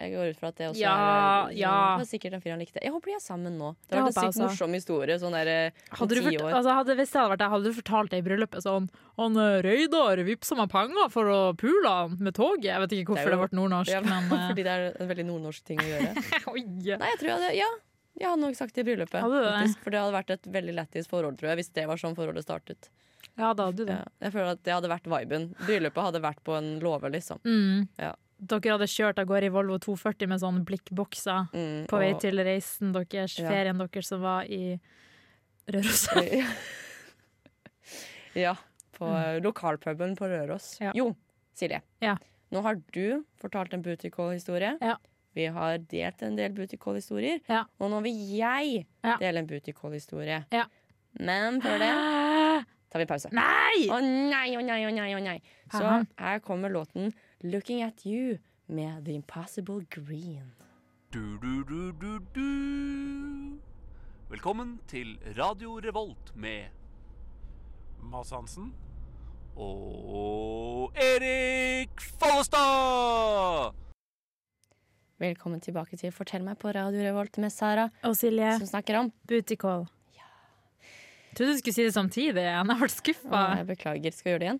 [SPEAKER 1] Jeg går ut fra at det også
[SPEAKER 4] Ja,
[SPEAKER 1] er sånn-
[SPEAKER 4] ja.
[SPEAKER 1] Det var sikkert en fyr han likte. Jeg håper de er sammen nå.
[SPEAKER 4] Det
[SPEAKER 1] Det har vært en
[SPEAKER 4] håper jeg
[SPEAKER 1] sykt
[SPEAKER 4] også.
[SPEAKER 1] morsom historie sånn der, eh, om
[SPEAKER 4] Hadde du
[SPEAKER 1] ti
[SPEAKER 4] fort,
[SPEAKER 1] år.
[SPEAKER 4] altså hadde, hvis det hadde vært deg, hadde du fortalt det i bryllupet sånn Han eh, Røydar vippsa meg penger for å pule han med toget. Jeg vet ikke
[SPEAKER 1] Det er
[SPEAKER 4] hvorfor det
[SPEAKER 1] jo-
[SPEAKER 4] ble nordnorsk,
[SPEAKER 1] Ja,
[SPEAKER 4] men eh,
[SPEAKER 1] fordi det er en veldig nordnorsk ting å gjøre.
[SPEAKER 4] oi.
[SPEAKER 1] Nei, jeg tror jeg hadde Ja, jeg hadde nok sagt det i bryllupet.
[SPEAKER 4] Hadde du det?
[SPEAKER 1] faktisk, for det hadde vært et veldig lættis forhold, tror jeg, hvis det var sånn forholdet startet.
[SPEAKER 4] Ja, da hadde du det.
[SPEAKER 1] Ja. Jeg føler at det hadde vært viben. Bryllupet hadde vært på en låve, liksom.
[SPEAKER 4] Mm.
[SPEAKER 1] Ja.
[SPEAKER 4] Dere hadde kjørt av gårde i Volvo 240 med sånne blikkbokser
[SPEAKER 1] Mm,
[SPEAKER 4] på vei
[SPEAKER 1] og-
[SPEAKER 4] til reisen deres,
[SPEAKER 1] Ja.
[SPEAKER 4] ferien deres som var i Røros.
[SPEAKER 1] Ja, på eh, lokalpuben på Røros.
[SPEAKER 4] Mm. Ja.
[SPEAKER 1] Jo, Silje.
[SPEAKER 4] Ja.
[SPEAKER 1] Nå har du fortalt en booty call-historie.
[SPEAKER 4] Ja.
[SPEAKER 1] Vi har delt en del booty call-historier.
[SPEAKER 4] Ja.
[SPEAKER 1] Og nå vil jeg
[SPEAKER 4] Ja.
[SPEAKER 1] dele en booty call-historie.
[SPEAKER 4] Ja.
[SPEAKER 1] Men før det tar vi pause.
[SPEAKER 4] Nei!
[SPEAKER 1] Å nei, å nei, å nei, å nei. Så
[SPEAKER 4] Aha.
[SPEAKER 1] her kommer låten 'Looking at You' med The Impossible Green.
[SPEAKER 9] Du, du, du, du, du. Velkommen til Radio Revolt med
[SPEAKER 8] Mads Hansen?
[SPEAKER 9] og Erik Follestad!
[SPEAKER 1] Velkommen tilbake til Fortell meg på Radio Revolt med Sara,
[SPEAKER 4] Og Silje,
[SPEAKER 1] som snakker om
[SPEAKER 4] booty call. Trodde du skulle si det samtidig. Jeg ble skuffa.
[SPEAKER 1] Å, Jeg beklager, skal vi gjøre det igjen?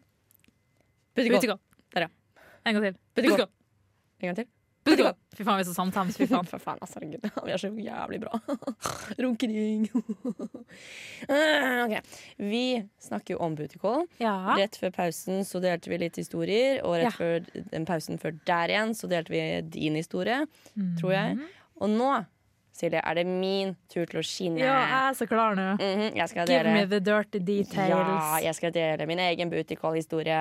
[SPEAKER 1] Booty
[SPEAKER 4] Booty
[SPEAKER 1] call.
[SPEAKER 4] call.
[SPEAKER 1] Der, ja.
[SPEAKER 4] En gang til.
[SPEAKER 1] Booty call.
[SPEAKER 4] Booty call.
[SPEAKER 1] En gang til.
[SPEAKER 4] Booty call. Fy faen, vi er så samtams. Fy faen.
[SPEAKER 1] For faen, altså, herregud. Vi er så jævlig bra. Runkering. Eh, ok. Vi snakker jo om booty call.
[SPEAKER 4] Ja.
[SPEAKER 1] Rett før pausen så delte vi litt historier, og rett
[SPEAKER 4] Ja.
[SPEAKER 1] før den pausen før der igjen så delte vi din historie, tror jeg.
[SPEAKER 4] Mhm.
[SPEAKER 1] Og nå, Silje, er det min tur til å skinne.
[SPEAKER 4] Ja, jeg er så klar nå.
[SPEAKER 1] Mhm, jeg skal
[SPEAKER 4] Give
[SPEAKER 1] dele
[SPEAKER 4] me the dirty
[SPEAKER 1] Ja,
[SPEAKER 4] details.
[SPEAKER 1] jeg skal dele min egen booty call-historie.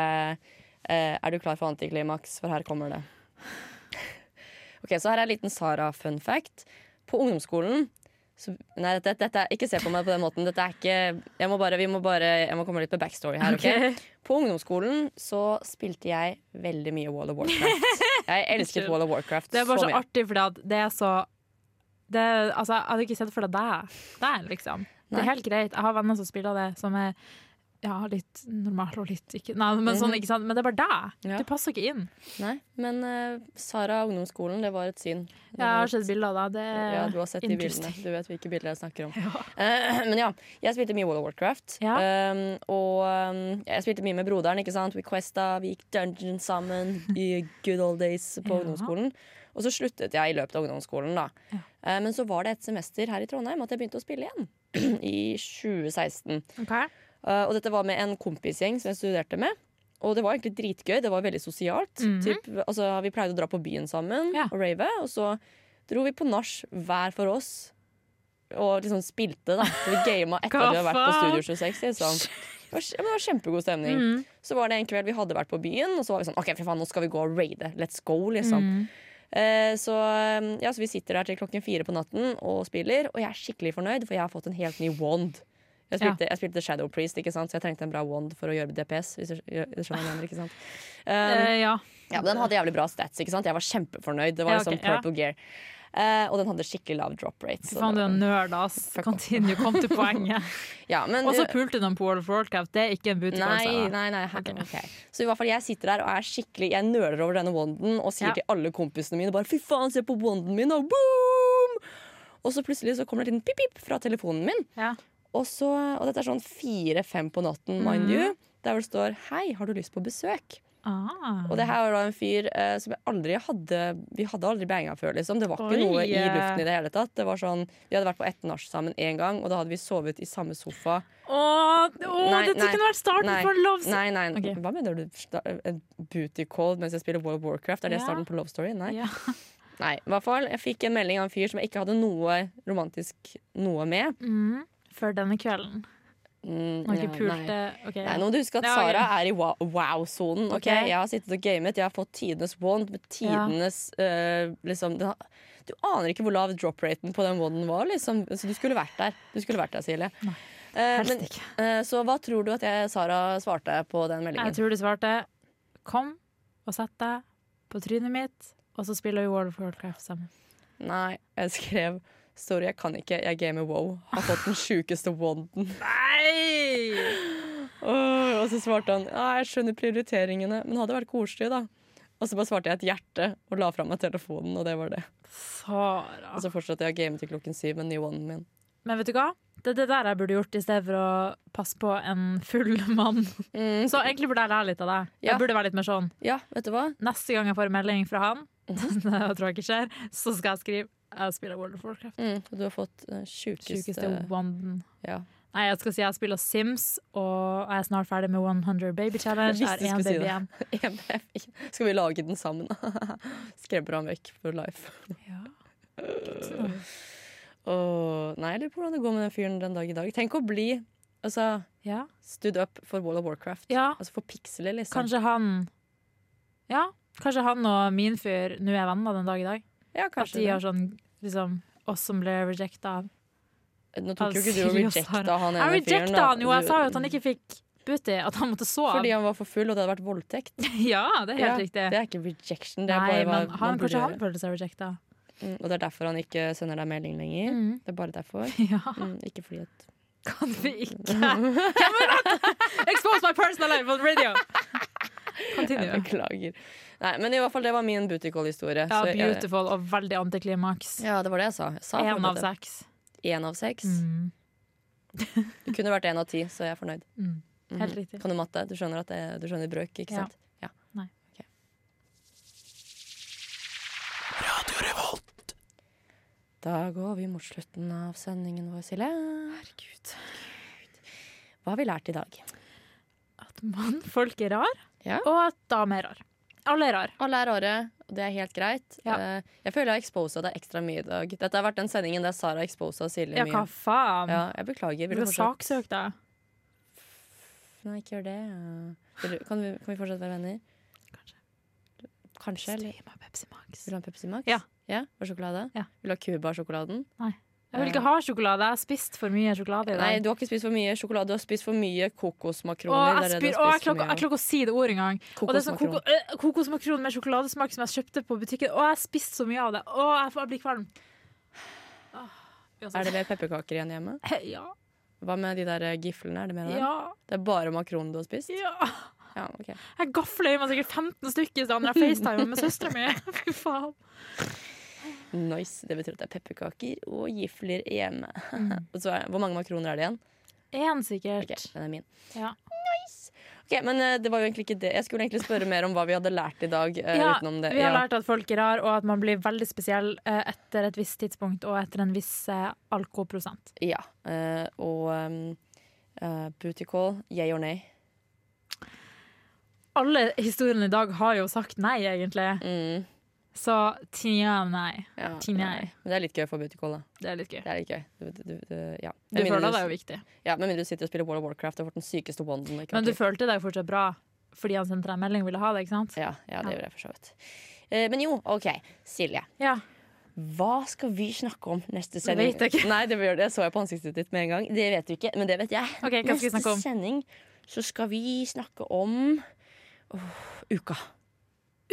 [SPEAKER 1] Eh, er du klar for antiklimaks? For her kommer det. Ok, Så her er en liten Sara-fun fact. På ungdomsskolen så, Nei, dette, dette er, ikke se på meg på den måten. Dette er ikke, jeg, må bare, vi må bare, jeg må komme litt med backstory her. ok? På ungdomsskolen så spilte jeg veldig mye Wall of Warcraft. Jeg elsket Wall of Warcraft
[SPEAKER 4] Det er bare
[SPEAKER 1] så
[SPEAKER 4] så
[SPEAKER 1] mye.
[SPEAKER 4] artig, fordi at det er så det, er- altså, Jeg hadde ikke sett for deg deg der, liksom. Det
[SPEAKER 1] Nei.
[SPEAKER 4] er helt greit. Jeg har venner som spiller det, som er ja, litt normal og litt ikke Nei, men sånn, ikke sant. Men det er bare deg.
[SPEAKER 1] Mhm. Ja.
[SPEAKER 4] Du passer ikke inn.
[SPEAKER 1] Nei, men eh, Sara og ungdomsskolen, det var et syn. Det
[SPEAKER 4] Jeg
[SPEAKER 1] var
[SPEAKER 4] har
[SPEAKER 1] et
[SPEAKER 4] sett bilder av deg. Det er
[SPEAKER 1] Ja, du har sett de bildene.
[SPEAKER 4] interesting.
[SPEAKER 1] Du vet hvilke bilder jeg snakker om. Eh, men ja, jeg spilte mye World of Warcraft.
[SPEAKER 4] Ja.
[SPEAKER 1] Um, og um, jeg spilte mye med broderen. ikke sant? We questa, vi gikk dungeon sammen i good old days på
[SPEAKER 4] Ja.
[SPEAKER 1] ungdomsskolen. Og så sluttet jeg i løpet av ungdomsskolen. da. Eh, men så var det et semester her i Trondheim at jeg begynte å spille igjen. I 2016.
[SPEAKER 4] Ok.
[SPEAKER 1] Eh, og dette var med en kompisgjeng som jeg studerte med. Og det var egentlig dritgøy. Det var veldig sosialt. typ, altså, vi pleide å dra på byen sammen
[SPEAKER 4] Mhm. Ja.
[SPEAKER 1] og rave. Og så dro vi på nach hver for oss. Og liksom spilte, da. Så vi gama etter at
[SPEAKER 4] Hva
[SPEAKER 1] vi hadde vært på
[SPEAKER 4] faen?
[SPEAKER 1] Studio 26. Liksom. Det var, men det var kjempegod stemning.
[SPEAKER 4] Mhm.
[SPEAKER 1] Så var det en kveld vi hadde vært på byen, og så var vi sånn OK, for faen, nå skal vi gå og raide. Let's go, liksom. Eh, så, eh, ja, så vi sitter der til klokken fire på natten og spiller, og jeg er skikkelig fornøyd, for jeg har fått en helt ny wand. Jeg spilte, jeg spilte Shadow Priest, ikke sant? så jeg trengte en bra wand for å gjøre DPS. Hvis du skj- du skjønner hva jeg mener, ikke sant? Um,
[SPEAKER 4] Eh, ja.
[SPEAKER 1] ja, men Den hadde jævlig bra stats. ikke sant? Jeg var kjempefornøyd. Det var
[SPEAKER 4] Ja,
[SPEAKER 1] liksom
[SPEAKER 4] ok, ja.
[SPEAKER 1] purple gear. Eh, og den hadde skikkelig lav drop rate.
[SPEAKER 4] Fy
[SPEAKER 1] så
[SPEAKER 4] faen, du
[SPEAKER 1] det
[SPEAKER 4] er
[SPEAKER 1] var-
[SPEAKER 4] en nerd, ass.
[SPEAKER 1] Fuck off.
[SPEAKER 4] Continue, kom til poenget.
[SPEAKER 1] ja, men,
[SPEAKER 4] Og så
[SPEAKER 1] eh,
[SPEAKER 4] pulte de på World of Warcraft. Det er ikke en booty
[SPEAKER 1] Nei,
[SPEAKER 4] call.
[SPEAKER 1] nei, nei. her- ok. Så i hvert fall jeg sitter der og er skikkelig Jeg nøler over denne wanden og sier
[SPEAKER 4] Ja.
[SPEAKER 1] til alle kompisene mine bare 'fy faen, se på wanden min', og boom! Og så plutselig så kommer det en liten pip-pip fra telefonen min.
[SPEAKER 4] Ja.
[SPEAKER 1] Og, så, og dette er sånn fire-fem på natten, mind
[SPEAKER 4] Mhm.
[SPEAKER 1] you. Der hvor det står 'Hei, har du lyst på besøk?'
[SPEAKER 4] Ah.
[SPEAKER 1] Og det her var da en fyr eh, som jeg aldri hadde Vi hadde aldri banga før, liksom. Det var ikke
[SPEAKER 4] Oi.
[SPEAKER 1] noe i luften i det hele tatt. Det var sånn, Vi hadde vært på ett nach sammen én gang, og da hadde vi sovet i samme sofa.
[SPEAKER 4] Åh, åh,
[SPEAKER 1] Nei,
[SPEAKER 4] dette
[SPEAKER 1] nei,
[SPEAKER 4] kunne vært starten
[SPEAKER 1] nei,
[SPEAKER 4] på en love story!
[SPEAKER 1] Nei, nei,
[SPEAKER 4] Ok.
[SPEAKER 1] hva mener du? Sta- En booty call mens jeg spiller World of Warcraft? Er det
[SPEAKER 4] Ja.
[SPEAKER 1] starten på Love Story? Nei.
[SPEAKER 4] Ja.
[SPEAKER 1] nei. I hvert fall, jeg fikk en melding av en fyr som jeg ikke hadde noe romantisk noe med.
[SPEAKER 4] Mm, før denne kvelden.
[SPEAKER 1] Mm,
[SPEAKER 4] Når ikke
[SPEAKER 1] ja, nei.
[SPEAKER 4] pulte ok.
[SPEAKER 1] Nei, nå må du huske at
[SPEAKER 4] Ja, ok.
[SPEAKER 1] Sara er i wa- wow-sonen. ok?
[SPEAKER 4] Ok.
[SPEAKER 1] Jeg har sittet og gamet, jeg har fått tidenes wand med tidenes eh, liksom, den, har- Du aner ikke hvor lav drop-raten på den wanden var. Liksom. Så du skulle vært der, Du skulle vært der, Silje. Eh,
[SPEAKER 4] Helst
[SPEAKER 1] men,
[SPEAKER 4] ikke.
[SPEAKER 1] eh, så hva tror du at jeg, Sara svarte på den meldingen?
[SPEAKER 4] Jeg tror du svarte Kom og sett deg på trynet mitt, og så spiller vi World of Warcraft sammen.
[SPEAKER 1] Nei, jeg skrev Sorry, jeg kan ikke. Jeg gamer wow. Har fått den sjukeste wanden.
[SPEAKER 4] Nei!
[SPEAKER 1] Åh, og så svarte han ja, jeg skjønner prioriteringene, men hadde vært koselig, da. Og så bare svarte jeg et hjerte og la fra meg telefonen, og det var det.
[SPEAKER 4] Sara.
[SPEAKER 1] Og så fortsatte jeg å game til klokken syv med new one min.
[SPEAKER 4] Men vet du hva? Det er det der jeg burde gjort i stedet for å passe på en full mann. Så egentlig burde jeg lære litt av
[SPEAKER 1] Mm.
[SPEAKER 4] deg.
[SPEAKER 1] Ja.
[SPEAKER 4] Jeg burde være litt mer sånn.
[SPEAKER 1] Ja, vet du hva?
[SPEAKER 4] Neste gang jeg får en melding fra han,
[SPEAKER 1] Mm.
[SPEAKER 4] det tror jeg ikke skjer, så skal jeg skrive jeg spiller World of Warcraft.
[SPEAKER 1] Mm, du har fått uh, sjukeste
[SPEAKER 4] Sjukeste wanden.
[SPEAKER 1] ja.
[SPEAKER 4] Nei, jeg skal si jeg spiller Sims, og jeg er snart ferdig med 100 Baby Challenge.
[SPEAKER 1] Jeg visste du
[SPEAKER 4] Jeg er én
[SPEAKER 1] skulle si
[SPEAKER 4] baby
[SPEAKER 1] det.
[SPEAKER 4] igjen.
[SPEAKER 1] Skal vi lage den sammen? Skremmer han vekk for life.
[SPEAKER 4] Ja.
[SPEAKER 1] Åh, nei, jeg lurer på hvordan det går med den fyren den dag i dag. Tenk å bli altså,
[SPEAKER 4] Ja.
[SPEAKER 1] stood up for Wall of Warcraft.
[SPEAKER 4] Ja.
[SPEAKER 1] Altså for piksler, liksom.
[SPEAKER 4] Kanskje han Ja, kanskje han og min fyr nå er venner den dag i dag.
[SPEAKER 1] Ja,
[SPEAKER 4] At
[SPEAKER 1] kanskje
[SPEAKER 4] de
[SPEAKER 1] det.
[SPEAKER 4] har sånn liksom oss som ble rejecta av
[SPEAKER 1] Nå tok jo ikke du
[SPEAKER 4] av
[SPEAKER 1] og
[SPEAKER 4] Siri og
[SPEAKER 1] rejecta
[SPEAKER 4] Sara.
[SPEAKER 1] han
[SPEAKER 4] Jeg
[SPEAKER 1] ene fyren.
[SPEAKER 4] rejecta
[SPEAKER 1] da.
[SPEAKER 4] han jo! Jeg
[SPEAKER 1] Du-
[SPEAKER 4] sa jo at han ikke fikk booty, at han måtte sove.
[SPEAKER 1] Fordi han var for full, og det hadde vært voldtekt.
[SPEAKER 4] ja, det er helt
[SPEAKER 1] Ja,
[SPEAKER 4] riktig.
[SPEAKER 1] Det er ikke rejection. Det er
[SPEAKER 4] Nei,
[SPEAKER 1] bare hva
[SPEAKER 4] men han,
[SPEAKER 1] man burde
[SPEAKER 4] kanskje han
[SPEAKER 1] gjøre.
[SPEAKER 4] følte seg rejecta.
[SPEAKER 1] Mm, og det er derfor han ikke sender deg melding lenger.
[SPEAKER 4] Mm.
[SPEAKER 1] Det er bare derfor.
[SPEAKER 4] Ja,
[SPEAKER 1] Mm, ikke fordi at
[SPEAKER 4] kan vi ikke Hvem er det? Expose my personal life on radio!
[SPEAKER 1] Jeg
[SPEAKER 4] Continue.
[SPEAKER 1] beklager. Nei, men i hvert fall, det var min booty call-historie.
[SPEAKER 4] Ja,
[SPEAKER 1] så jeg-
[SPEAKER 4] beautiful og veldig antiklimaks.
[SPEAKER 1] Ja, det var det jeg sa. Jeg sa
[SPEAKER 4] Én
[SPEAKER 1] faktisk
[SPEAKER 4] av
[SPEAKER 1] det.
[SPEAKER 4] seks.
[SPEAKER 1] En av seks.
[SPEAKER 4] Mm.
[SPEAKER 1] Det kunne vært én av ti, så jeg er fornøyd.
[SPEAKER 4] Mm. Helt riktig.
[SPEAKER 1] Kan du matte? Du skjønner at det, du skjønner brøk, ikke
[SPEAKER 4] Ja.
[SPEAKER 1] sant? Ja.
[SPEAKER 4] Nei.
[SPEAKER 1] Ok. Da går vi mot slutten av sendingen vår, Silje. Herregud. Hva har vi lært i dag?
[SPEAKER 4] At mannfolk er rar,
[SPEAKER 1] Ja.
[SPEAKER 4] og at damer er rar. Alle er rar.
[SPEAKER 1] Alle er rare, og det er helt greit.
[SPEAKER 4] Ja.
[SPEAKER 1] Eh, Jeg føler jeg har exposa deg ekstra mye i dag. Dette har vært den sendingen der Sara har exposa Silje
[SPEAKER 4] Ja, hva
[SPEAKER 1] mye.
[SPEAKER 4] faen?
[SPEAKER 1] Ja, jeg beklager.
[SPEAKER 4] Du
[SPEAKER 1] Vil du
[SPEAKER 4] skal
[SPEAKER 1] fortsatt
[SPEAKER 4] saksøke deg.
[SPEAKER 1] Nei, ikke gjør det. Vil du, kan, vi, kan vi fortsatt være venner? Kanskje. Kanskje, eller
[SPEAKER 4] Stream av Pepsi Max.
[SPEAKER 1] Vil du ha en Pepsi Max?
[SPEAKER 4] Ja.
[SPEAKER 1] Og sjokolade?
[SPEAKER 4] Ja.
[SPEAKER 1] Vil du ha Cuba-sjokoladen?
[SPEAKER 4] Jeg vil ikke ha sjokolade. Jeg har spist for mye sjokolade i
[SPEAKER 1] Nei,
[SPEAKER 4] dag.
[SPEAKER 1] du har ikke spist for mye sjokolade. Du har spist for mye kokosmakroner.
[SPEAKER 4] Og jeg,
[SPEAKER 1] Det er det
[SPEAKER 4] spyr,
[SPEAKER 1] du
[SPEAKER 4] å,
[SPEAKER 1] har spist for
[SPEAKER 4] jeg klarer ikke- jeg
[SPEAKER 1] mye av.
[SPEAKER 4] klarer ikke å si det ordet engang. Og det er sånn koko,
[SPEAKER 1] Kokosmakron.
[SPEAKER 4] øh, kokosmakron med sjokoladesmak som jeg kjøpte på butikken. Å, jeg har spist så mye av det. Å, jeg, får, jeg blir kvalm. Åh,
[SPEAKER 1] Er
[SPEAKER 4] uansett.
[SPEAKER 1] det mer pepperkaker igjen hjemme?
[SPEAKER 4] Ja.
[SPEAKER 1] Hva med de der eh, giflene? Er det mer av det?
[SPEAKER 4] Ja.
[SPEAKER 1] Det er bare makronen du har spist?
[SPEAKER 4] ja.
[SPEAKER 1] Ja, ok.
[SPEAKER 4] Jeg gafla i meg sikkert 15 stykker i stedet når jeg facetimer med søstera mi. Fy faen.
[SPEAKER 1] Nice. Det betyr at det er pepperkaker og gifler hjemme.
[SPEAKER 4] Mm.
[SPEAKER 1] Og så er, hvor mange makroner er det igjen?
[SPEAKER 4] Én sikkert.
[SPEAKER 1] Ok, den er min.
[SPEAKER 4] Ja.
[SPEAKER 1] Nice! Ok, Men eh, det var jo egentlig ikke det. Jeg skulle egentlig spørre mer om hva vi hadde lært i dag. eh,
[SPEAKER 4] Ja,
[SPEAKER 1] utenom det.
[SPEAKER 4] Vi har
[SPEAKER 1] Ja.
[SPEAKER 4] lært at folk er rar, og at man blir veldig spesiell eh, etter et visst tidspunkt og etter en viss eh, alkoholprosent.
[SPEAKER 1] Ja, eh, og um, eh, booty call, yay or nay?
[SPEAKER 4] Alle historiene i dag har jo sagt nei, egentlig.
[SPEAKER 1] Mm.
[SPEAKER 4] Så tja, nei.
[SPEAKER 1] Ja,
[SPEAKER 4] Tja, nei.
[SPEAKER 1] Men det er litt gøy for bootycall, da.
[SPEAKER 4] Det er litt gøy.
[SPEAKER 1] Det er litt gøy. Du, du, du, ja.
[SPEAKER 4] Du
[SPEAKER 1] Med mindre
[SPEAKER 4] føler deg jo viktig.
[SPEAKER 1] Ja, Med mindre du sitter og spiller World of Warcraft og får den sykeste bonden.
[SPEAKER 4] Men du følte deg jo fortsatt bra fordi han sendte deg en melding og ville ha det, ikke sant?
[SPEAKER 1] ja, ja, det gjør jeg for så vidt. Eh, Men jo, OK. Silje.
[SPEAKER 4] Ja.
[SPEAKER 1] Hva skal vi snakke om neste sending?
[SPEAKER 4] vet jeg ikke.
[SPEAKER 1] Nei, det, gjør det. så jeg på ansiktet ditt med en gang. Det vet du ikke, men det vet jeg.
[SPEAKER 4] Ok, hva skal vi snakke om?
[SPEAKER 1] Neste sending så skal vi snakke om Åh, uka.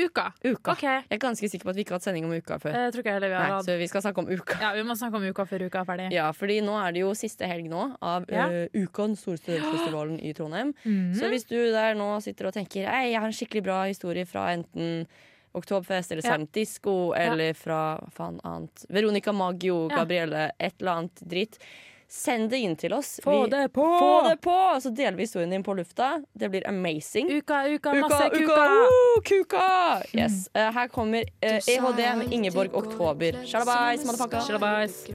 [SPEAKER 4] Uka.
[SPEAKER 1] Uka.
[SPEAKER 4] OK. Eh,
[SPEAKER 1] Jeg er ganske sikker på at vi ikke har hatt sending om uka før.
[SPEAKER 4] tror ikke jeg heller vi
[SPEAKER 1] Nei,
[SPEAKER 4] har hatt
[SPEAKER 1] så vi skal snakke om uka.
[SPEAKER 4] Ja, vi må snakke om uka før uka er ferdig.
[SPEAKER 1] Ja, fordi nå er det jo siste helg nå av
[SPEAKER 4] Ja. Mhm.
[SPEAKER 1] eh, uka, den store studentfestivalen i Trondheim. Så hvis du der nå sitter og tenker Ei, jeg har en skikkelig bra historie fra enten Oktoberfest eller
[SPEAKER 4] Ja.
[SPEAKER 1] Silent Disco eller fra faen annet Veronica Maggio,
[SPEAKER 4] Ja.
[SPEAKER 1] Gabrielle, et eller annet dritt. Send det inn til oss.
[SPEAKER 4] Få
[SPEAKER 1] Vi-
[SPEAKER 4] det på!
[SPEAKER 1] Få det på! Så deler vi historien din på lufta. Det blir amazing.
[SPEAKER 4] Uka, uka, masse
[SPEAKER 1] uka!
[SPEAKER 4] kuka! Mm.
[SPEAKER 1] woo, kuka! E Yes. Eh, her kommer eh, EHD med Ingeborg Oktober. Sjalabais, motherfucker.
[SPEAKER 4] Sjalabais.